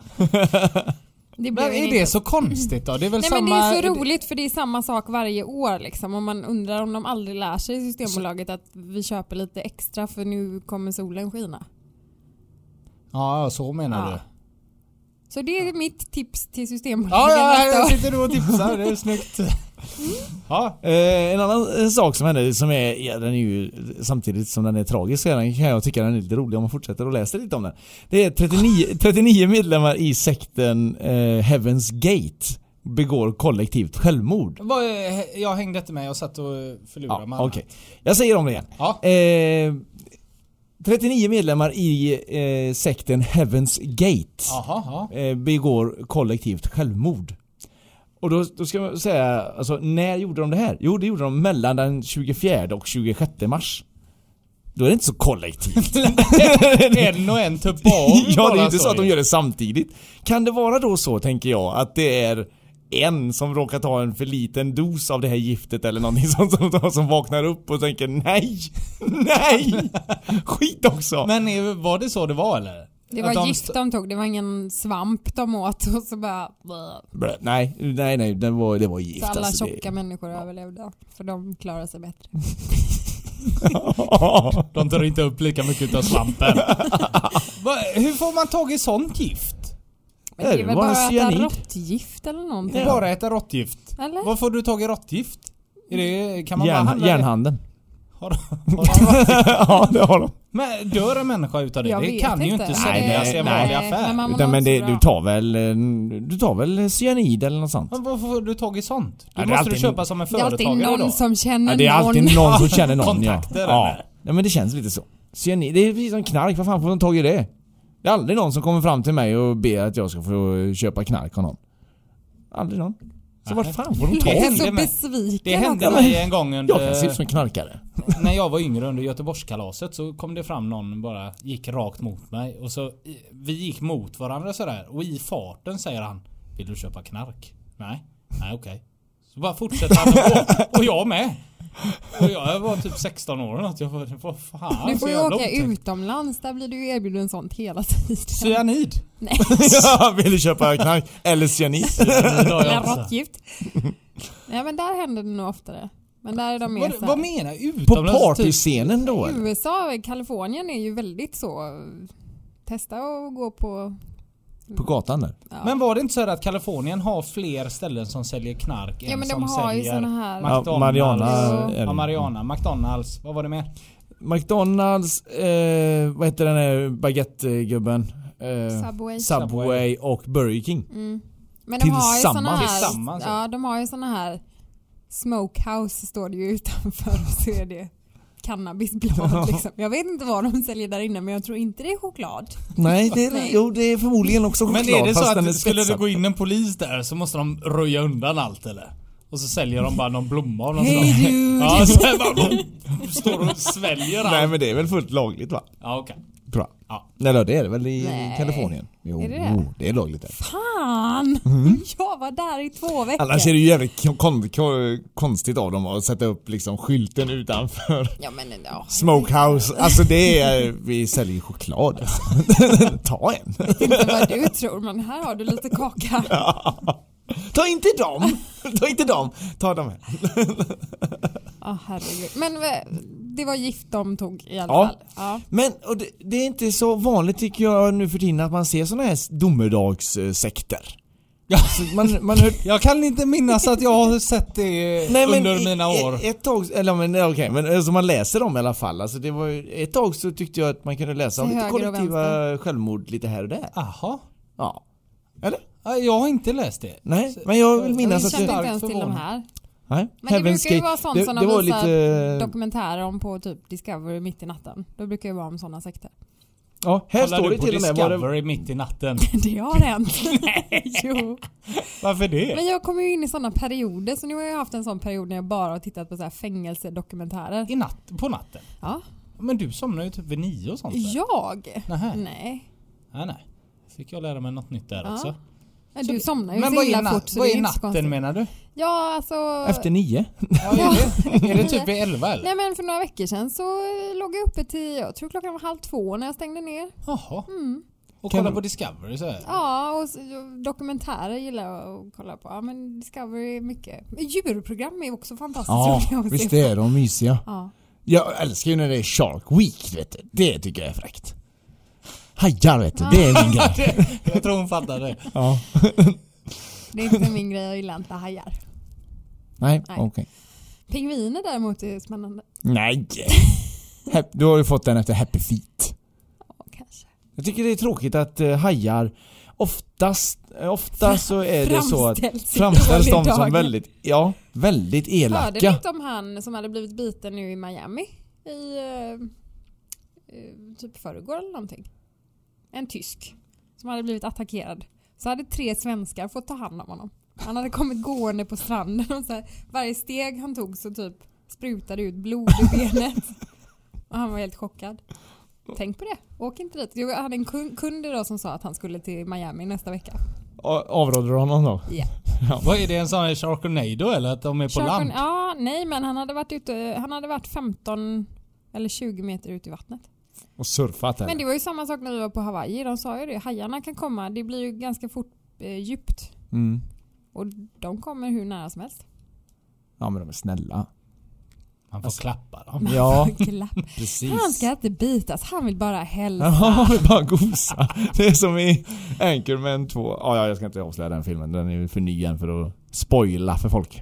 [SPEAKER 3] Det
[SPEAKER 2] Men
[SPEAKER 3] blev
[SPEAKER 2] är
[SPEAKER 3] ingen
[SPEAKER 2] det så konstigt då? Det är väl
[SPEAKER 3] Nej
[SPEAKER 2] samma...
[SPEAKER 3] men det är så roligt för det är samma sak varje år liksom. Och man undrar om de aldrig lär sig i Systembolaget att vi köper lite extra för nu kommer solen skina.
[SPEAKER 2] Ja, ja, så menar
[SPEAKER 3] Ja.
[SPEAKER 2] du.
[SPEAKER 3] Så det är mitt tips till
[SPEAKER 2] Ja,
[SPEAKER 3] Systembolaget
[SPEAKER 2] ja,
[SPEAKER 3] nästa
[SPEAKER 2] jag
[SPEAKER 3] år.
[SPEAKER 2] sitter du och tipsar. Det är snyggt.
[SPEAKER 3] Mm.
[SPEAKER 2] Ja,
[SPEAKER 1] Eh, en annan eh, sak som hände som är, ja, den är ju samtidigt som den är tragisk så är den, kan jag tycka den är lite rolig om man fortsätter och läser lite om den. Det är 39, 39 medlemmar i sekten eh, Heaven's Gate begår kollektivt självmord.
[SPEAKER 2] vad, eh, jag hängde inte med. Jag satt och förlurade
[SPEAKER 1] Ja,
[SPEAKER 2] mig.
[SPEAKER 1] okej. Jag säger om det igen.
[SPEAKER 2] Ja.
[SPEAKER 1] Eh, 39 medlemmar i eh, sekten Heaven's Gate
[SPEAKER 2] Jaha, ja.
[SPEAKER 1] eh, begår kollektivt självmord. Och då, då ska man säga, alltså när gjorde de det här? Jo, det gjorde de mellan den 24 och 26 mars. Då är det inte så kollektivt.
[SPEAKER 2] En och en tuppar av.
[SPEAKER 1] ja, det är
[SPEAKER 2] bara,
[SPEAKER 1] ju inte så
[SPEAKER 2] sorry.
[SPEAKER 1] att de gör det samtidigt. Kan det vara då så, tänker jag, att det är en som råkar ta en för liten dos av det här giftet eller någonting sånt som, som, som vaknar upp och tänker nej, nej, skit också.
[SPEAKER 2] Men är- var det så det var eller?
[SPEAKER 3] Det
[SPEAKER 2] Att
[SPEAKER 3] var
[SPEAKER 2] de
[SPEAKER 3] gift
[SPEAKER 2] st-
[SPEAKER 3] de tog, det var ingen svamp de åt och så bara... bleh.
[SPEAKER 1] Blä, nej, nej, nej, det var, det var gift.
[SPEAKER 3] Så alla
[SPEAKER 1] alltså, det-
[SPEAKER 3] tjocka människor överlevde. För de klarar sig bättre.
[SPEAKER 2] De tar inte upp lika mycket utav svampen. Va, Hur får man tag i sånt gift?
[SPEAKER 3] Men
[SPEAKER 1] Ja,
[SPEAKER 3] det
[SPEAKER 1] det
[SPEAKER 3] är väl
[SPEAKER 1] var en
[SPEAKER 3] bara att
[SPEAKER 1] cyanid.
[SPEAKER 3] äta råttgift eller någonting?
[SPEAKER 2] Bara äta råttgift.
[SPEAKER 3] Eller?
[SPEAKER 2] Var får du tag i råttgift? Är det, kan man bara
[SPEAKER 1] Järn,
[SPEAKER 2] handla det?
[SPEAKER 1] järnhandeln.
[SPEAKER 2] Har de- har de råttgift?
[SPEAKER 1] ja, det har de.
[SPEAKER 2] Men dör en människa utav det?
[SPEAKER 3] Jag
[SPEAKER 2] det
[SPEAKER 3] vet
[SPEAKER 2] kan ju
[SPEAKER 3] inte.
[SPEAKER 2] inte
[SPEAKER 3] Nej,
[SPEAKER 2] säljas i en
[SPEAKER 1] nej.
[SPEAKER 2] vanlig
[SPEAKER 3] Nej,
[SPEAKER 2] affär. Men
[SPEAKER 3] men man- Mamma
[SPEAKER 1] Utan,
[SPEAKER 3] var
[SPEAKER 1] men
[SPEAKER 3] inte
[SPEAKER 1] det,
[SPEAKER 3] så
[SPEAKER 1] du
[SPEAKER 3] bra.
[SPEAKER 1] tar väl eh, Du tar väl cyanid eller något sånt?
[SPEAKER 2] varför får du tag i sånt? Då
[SPEAKER 1] Ja, det är
[SPEAKER 2] måste du
[SPEAKER 1] alltid-
[SPEAKER 2] köpa som en
[SPEAKER 3] Det är alltid
[SPEAKER 2] företagare
[SPEAKER 3] någon
[SPEAKER 2] då.
[SPEAKER 3] som känner
[SPEAKER 1] Ja, det är alltid
[SPEAKER 3] någon.
[SPEAKER 1] någon, som känner någon ja.
[SPEAKER 2] Kontakter,
[SPEAKER 1] Ja.
[SPEAKER 2] eller?
[SPEAKER 1] ja. men det känns lite så. Cyanid, det är precis som knark. Vad fan får de tag i det? Det är aldrig någon som kommer fram till mig och ber att jag ska få köpa knark av någon. Aldrig någon. Så vart fan får de
[SPEAKER 3] Jag
[SPEAKER 1] tag
[SPEAKER 3] är
[SPEAKER 1] i
[SPEAKER 2] hände
[SPEAKER 3] så
[SPEAKER 2] mig.
[SPEAKER 3] besviken.
[SPEAKER 2] Det hände
[SPEAKER 3] också.
[SPEAKER 2] mig en gång under...
[SPEAKER 1] Jag kan se ut som en knarkare.
[SPEAKER 2] När jag var yngre under Göteborgskalaset så kom det fram någon bara gick rakt mot mig och så i- vi gick mot varandra sådär och i farten säger han Vill du köpa knark? Nej, nej okej. Så bara fortsätter han att gå och jag med. Och jag var typ 16 år eller något. Jag bara vad fan
[SPEAKER 3] Du får
[SPEAKER 2] så
[SPEAKER 3] ju
[SPEAKER 2] jävla
[SPEAKER 3] åka
[SPEAKER 2] otäckt."
[SPEAKER 3] utomlands, där blir du ju erbjuden sånt hela tiden.
[SPEAKER 2] Cyanid.
[SPEAKER 1] Ja, Vill du köpa knark? Eller cyanid?
[SPEAKER 2] Cyanid har jag
[SPEAKER 3] Eller
[SPEAKER 2] också.
[SPEAKER 3] råttgift. Nej men där händer det nog oftare. Men där är de mer
[SPEAKER 2] Vad,
[SPEAKER 3] så
[SPEAKER 2] vad
[SPEAKER 3] här-
[SPEAKER 2] menar du? Typ, alltså,
[SPEAKER 1] På partyscenen då eller?
[SPEAKER 3] USA, Kalifornien är ju väldigt så. Testa och gå på...
[SPEAKER 1] På gatan där?
[SPEAKER 2] Men var det inte så här att Kalifornien har fler ställen som säljer knark
[SPEAKER 3] Ja,
[SPEAKER 2] än
[SPEAKER 3] men de
[SPEAKER 2] som
[SPEAKER 3] har ju
[SPEAKER 2] säljer
[SPEAKER 3] såna här- Ja,
[SPEAKER 2] McDonalds?
[SPEAKER 1] Mariana-
[SPEAKER 2] eh, Ja, Mariana. McDonalds. Vad var det med?
[SPEAKER 1] McDonalds, eh, vad heter den här baguettegubben? Eh,
[SPEAKER 3] Subway. Mm.
[SPEAKER 1] Subway och Burger King.
[SPEAKER 3] Men de har ju såna
[SPEAKER 1] Tillsammans.
[SPEAKER 3] här...
[SPEAKER 2] Tillsammans, ja.
[SPEAKER 3] Ja, de har ju såna här... Smokehouse står det ju utanför och så är det cannabisblad liksom. Jag vet inte vad de säljer där inne men jag tror inte det är choklad.
[SPEAKER 1] Nej, det är,
[SPEAKER 3] Nej.
[SPEAKER 1] Jo, det är förmodligen också choklad
[SPEAKER 2] Men är det så
[SPEAKER 1] fast
[SPEAKER 2] att
[SPEAKER 1] den är
[SPEAKER 2] det skulle det
[SPEAKER 1] spetsad.
[SPEAKER 2] gå in en polis där så måste de röja undan allt eller? Och så säljer de bara någon blomma av något
[SPEAKER 3] Hey,
[SPEAKER 2] slag.
[SPEAKER 3] dude.
[SPEAKER 2] Ja, så här bara, står och sväljer allt.
[SPEAKER 1] Nej men det är väl fullt lagligt va?
[SPEAKER 2] Ja, okej.
[SPEAKER 1] Tror jag.
[SPEAKER 2] Ja.
[SPEAKER 1] Eller det är det väl i
[SPEAKER 3] Nej.
[SPEAKER 1] Kalifornien? Jo,
[SPEAKER 3] Är
[SPEAKER 1] är
[SPEAKER 3] det
[SPEAKER 1] det,
[SPEAKER 3] det?
[SPEAKER 1] jo, det är lagligt där.
[SPEAKER 3] Fan!
[SPEAKER 1] Mm.
[SPEAKER 3] Jag var där i två veckor.
[SPEAKER 1] Annars är det ju jävligt kon- kon- kon- konstigt av dem att sätta upp liksom skylten utanför
[SPEAKER 3] Ja men ja.
[SPEAKER 1] Smokehouse. Alltså det är, vi säljer ju choklad alltså. Ta en.
[SPEAKER 3] inte vad du tror men här har du lite kaka.
[SPEAKER 1] Ta inte dem! Ta inte dem! Ta dem här.
[SPEAKER 3] Ja herregud. Men v- det var gift de tog i alla
[SPEAKER 1] Ja.
[SPEAKER 3] fall. Ja.
[SPEAKER 1] Men och det, det är inte så vanligt tycker jag nu för tiden att man ser såna här domedagssekter.
[SPEAKER 2] Ja.
[SPEAKER 1] Alltså, man, man hör,
[SPEAKER 2] Jag kan inte minnas att jag har sett det
[SPEAKER 1] Nej, men
[SPEAKER 2] under
[SPEAKER 1] i-
[SPEAKER 2] mina
[SPEAKER 1] i-
[SPEAKER 2] år.
[SPEAKER 1] Ett tag, eller men okej, men alltså man läser dem i alla fall. Alltså det var ju, ett tag så tyckte jag att man kunde läsa om
[SPEAKER 3] Till
[SPEAKER 1] lite
[SPEAKER 3] höger och
[SPEAKER 1] kollektiva
[SPEAKER 3] vänster.
[SPEAKER 1] självmord lite här och där.
[SPEAKER 2] Aha.
[SPEAKER 1] Ja. Eller?
[SPEAKER 2] Ja, Jag har inte läst det.
[SPEAKER 1] Nej, men jag vill
[SPEAKER 3] Jag
[SPEAKER 1] minnas att
[SPEAKER 3] kände
[SPEAKER 1] det...
[SPEAKER 3] inte
[SPEAKER 2] starkt
[SPEAKER 3] ens till de
[SPEAKER 2] förvånad.
[SPEAKER 3] här.
[SPEAKER 1] Nej,
[SPEAKER 3] Men det
[SPEAKER 1] Heaven's
[SPEAKER 3] brukar ju
[SPEAKER 1] Gate.
[SPEAKER 3] vara sånt
[SPEAKER 1] Det-
[SPEAKER 3] som
[SPEAKER 1] det
[SPEAKER 3] de
[SPEAKER 1] var
[SPEAKER 3] visar
[SPEAKER 1] lite-
[SPEAKER 3] dokumentärer om på typ Discovery mitt i natten. Då brukar det vara om sådana sekter.
[SPEAKER 1] Ja, här
[SPEAKER 2] Kollar
[SPEAKER 1] står
[SPEAKER 2] du
[SPEAKER 1] det
[SPEAKER 2] på
[SPEAKER 1] till och med vad det...
[SPEAKER 2] Discovery mitt i natten?
[SPEAKER 3] Det har hänt. jo.
[SPEAKER 2] Varför det?
[SPEAKER 3] Men jag kommer ju in i sådana perioder så nu har jag haft en sån period när jag bara har tittat på så här fängelsedokumentärer.
[SPEAKER 2] I natt, på natten?
[SPEAKER 3] Ja.
[SPEAKER 2] Men du somnar ju typ vid nio och sånt där.
[SPEAKER 3] Jag?
[SPEAKER 2] Nähä.
[SPEAKER 3] Nej.
[SPEAKER 2] Nej, nej. Fick jag lära mig något nytt där
[SPEAKER 3] Ja.
[SPEAKER 2] också.
[SPEAKER 3] Nej, Du somnar ju
[SPEAKER 2] Men
[SPEAKER 3] så
[SPEAKER 2] vad är,
[SPEAKER 3] illa
[SPEAKER 2] na-
[SPEAKER 3] fort så
[SPEAKER 2] vad
[SPEAKER 3] det
[SPEAKER 2] är
[SPEAKER 3] är inte så konstigt.
[SPEAKER 2] natten menar du?
[SPEAKER 3] Ja alltså.
[SPEAKER 1] Efter nio?
[SPEAKER 2] Ja, är, det, är det typ vid elva eller?
[SPEAKER 3] Nej men för några veckor sedan så låg jag uppe till, jag tror klockan var halv två när jag stängde ner.
[SPEAKER 2] Jaha. Och
[SPEAKER 1] Kan
[SPEAKER 2] kolla
[SPEAKER 1] du-
[SPEAKER 2] på Discovery så här.
[SPEAKER 3] Mm. Ja och s- dokumentärer gillar jag att kolla på. Ja men Discovery är mycket. Men Djurprogram är också fantastiskt roliga att se.
[SPEAKER 1] är de mysiga.
[SPEAKER 3] Ja.
[SPEAKER 1] Jag älskar ju när det är Shark Week, vet du. Det tycker jag är fräckt. Hajar vet du, det är min grej.
[SPEAKER 2] Jag tror hon fattar det.
[SPEAKER 1] Ja.
[SPEAKER 3] Det är inte min grej, jag gillar inte hajar.
[SPEAKER 1] Nej,
[SPEAKER 3] Nej.
[SPEAKER 1] okej.
[SPEAKER 3] Pingviner däremot är spännande.
[SPEAKER 1] Nej! Hep- Du har ju fått den efter Happy Feet.
[SPEAKER 3] Ja, kanske.
[SPEAKER 1] Jag tycker det är tråkigt att eh, hajar oftast, eh, ofta så är det så att
[SPEAKER 3] Framställs i
[SPEAKER 1] framställs de
[SPEAKER 3] dålig
[SPEAKER 1] som
[SPEAKER 3] dag.
[SPEAKER 1] väldigt, ja, väldigt
[SPEAKER 3] Hörde du
[SPEAKER 1] elaka.
[SPEAKER 3] inte om han som hade blivit biten nu i Miami? I eh, eh, typ förrgår eller någonting. En tysk som hade blivit attackerad. Så hade tre svenskar fått ta hand om honom. Han hade kommit gående på stranden och så här, varje steg han tog så typ sprutade ut blod i benet. Och han var helt chockad. Tänk på det, åk inte dit. Jo, Jag hade en kun- kund idag som sa att han skulle till Miami nästa vecka.
[SPEAKER 1] A- Avråder du honom då?
[SPEAKER 3] Ja.
[SPEAKER 2] Vad är det en sån här Sharknado eller att de är på land?
[SPEAKER 3] Sharkon- Ja, nej men han hade varit ute, han hade varit 15 eller 20 meter ut i vattnet.
[SPEAKER 1] Och surfat
[SPEAKER 3] Men det
[SPEAKER 1] eller?
[SPEAKER 3] var ju samma sak när vi var på Hawaii, de sa ju det, hajarna kan komma, det blir ju ganska fort eh, djupt.
[SPEAKER 1] Mm.
[SPEAKER 3] Och de kommer hur nära som helst.
[SPEAKER 1] Ja men de är snälla.
[SPEAKER 2] Man får klappa dem.
[SPEAKER 1] Ja,
[SPEAKER 3] Glapp.
[SPEAKER 1] precis.
[SPEAKER 3] Han ska inte bitas, han vill bara hälsa.
[SPEAKER 1] Ja, vi bara gosa. Det är som i Anchorman 2. Ja, ja, jag ska inte avslöja den filmen. Den är ju för ny än för att spoila för folk.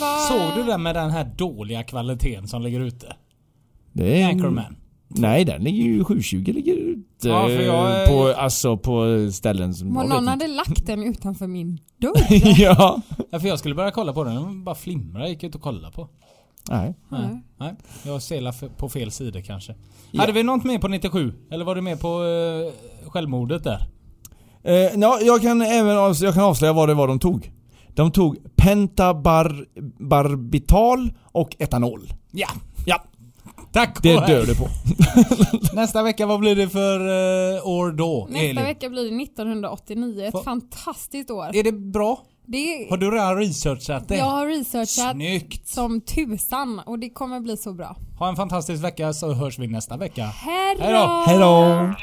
[SPEAKER 3] Vad-
[SPEAKER 2] Såg du den med den här dåliga kvaliteten som ligger ute?
[SPEAKER 1] Det är en-
[SPEAKER 3] Mm.
[SPEAKER 2] Anchorman.
[SPEAKER 1] Nej, den ligger ju 720 ligger ute
[SPEAKER 2] Ja, för jag är-
[SPEAKER 1] på, alltså, på ställen som...
[SPEAKER 3] Men
[SPEAKER 1] jag
[SPEAKER 3] någon
[SPEAKER 1] vet
[SPEAKER 3] hade lagt den utanför min dörr.
[SPEAKER 1] inte. ja.
[SPEAKER 2] Ja, för jag skulle börja kolla på den, den bara flimrade, gick ut och kolla på.
[SPEAKER 1] Nej.
[SPEAKER 2] Nej. Nej, jag selar f- på fel sida kanske. Hade vi något mer på 97? Eller var du med på eh, självmordet där?
[SPEAKER 1] Eh, ja, jag kan även avs- jag kan avslöja vad det var de tog. De tog pentabarbital och etanol.
[SPEAKER 2] Ja!
[SPEAKER 1] Ja,
[SPEAKER 2] Tack
[SPEAKER 1] det
[SPEAKER 2] och hej.
[SPEAKER 1] dör du på.
[SPEAKER 2] Nästa vecka, vad blir det för eh, år då?
[SPEAKER 3] Nästa
[SPEAKER 2] Elin?
[SPEAKER 3] vecka blir det 1989, ett
[SPEAKER 2] Fa-
[SPEAKER 3] fantastiskt år.
[SPEAKER 2] Är det bra?
[SPEAKER 3] Det,
[SPEAKER 2] Har du redan researchat det?
[SPEAKER 3] jag har researchat
[SPEAKER 2] Snyggt!
[SPEAKER 3] som tusan och det kommer bli så bra.
[SPEAKER 2] Ha en fantastisk vecka så hörs vi nästa vecka.
[SPEAKER 3] Hej
[SPEAKER 2] Hej då.
[SPEAKER 1] Hej då!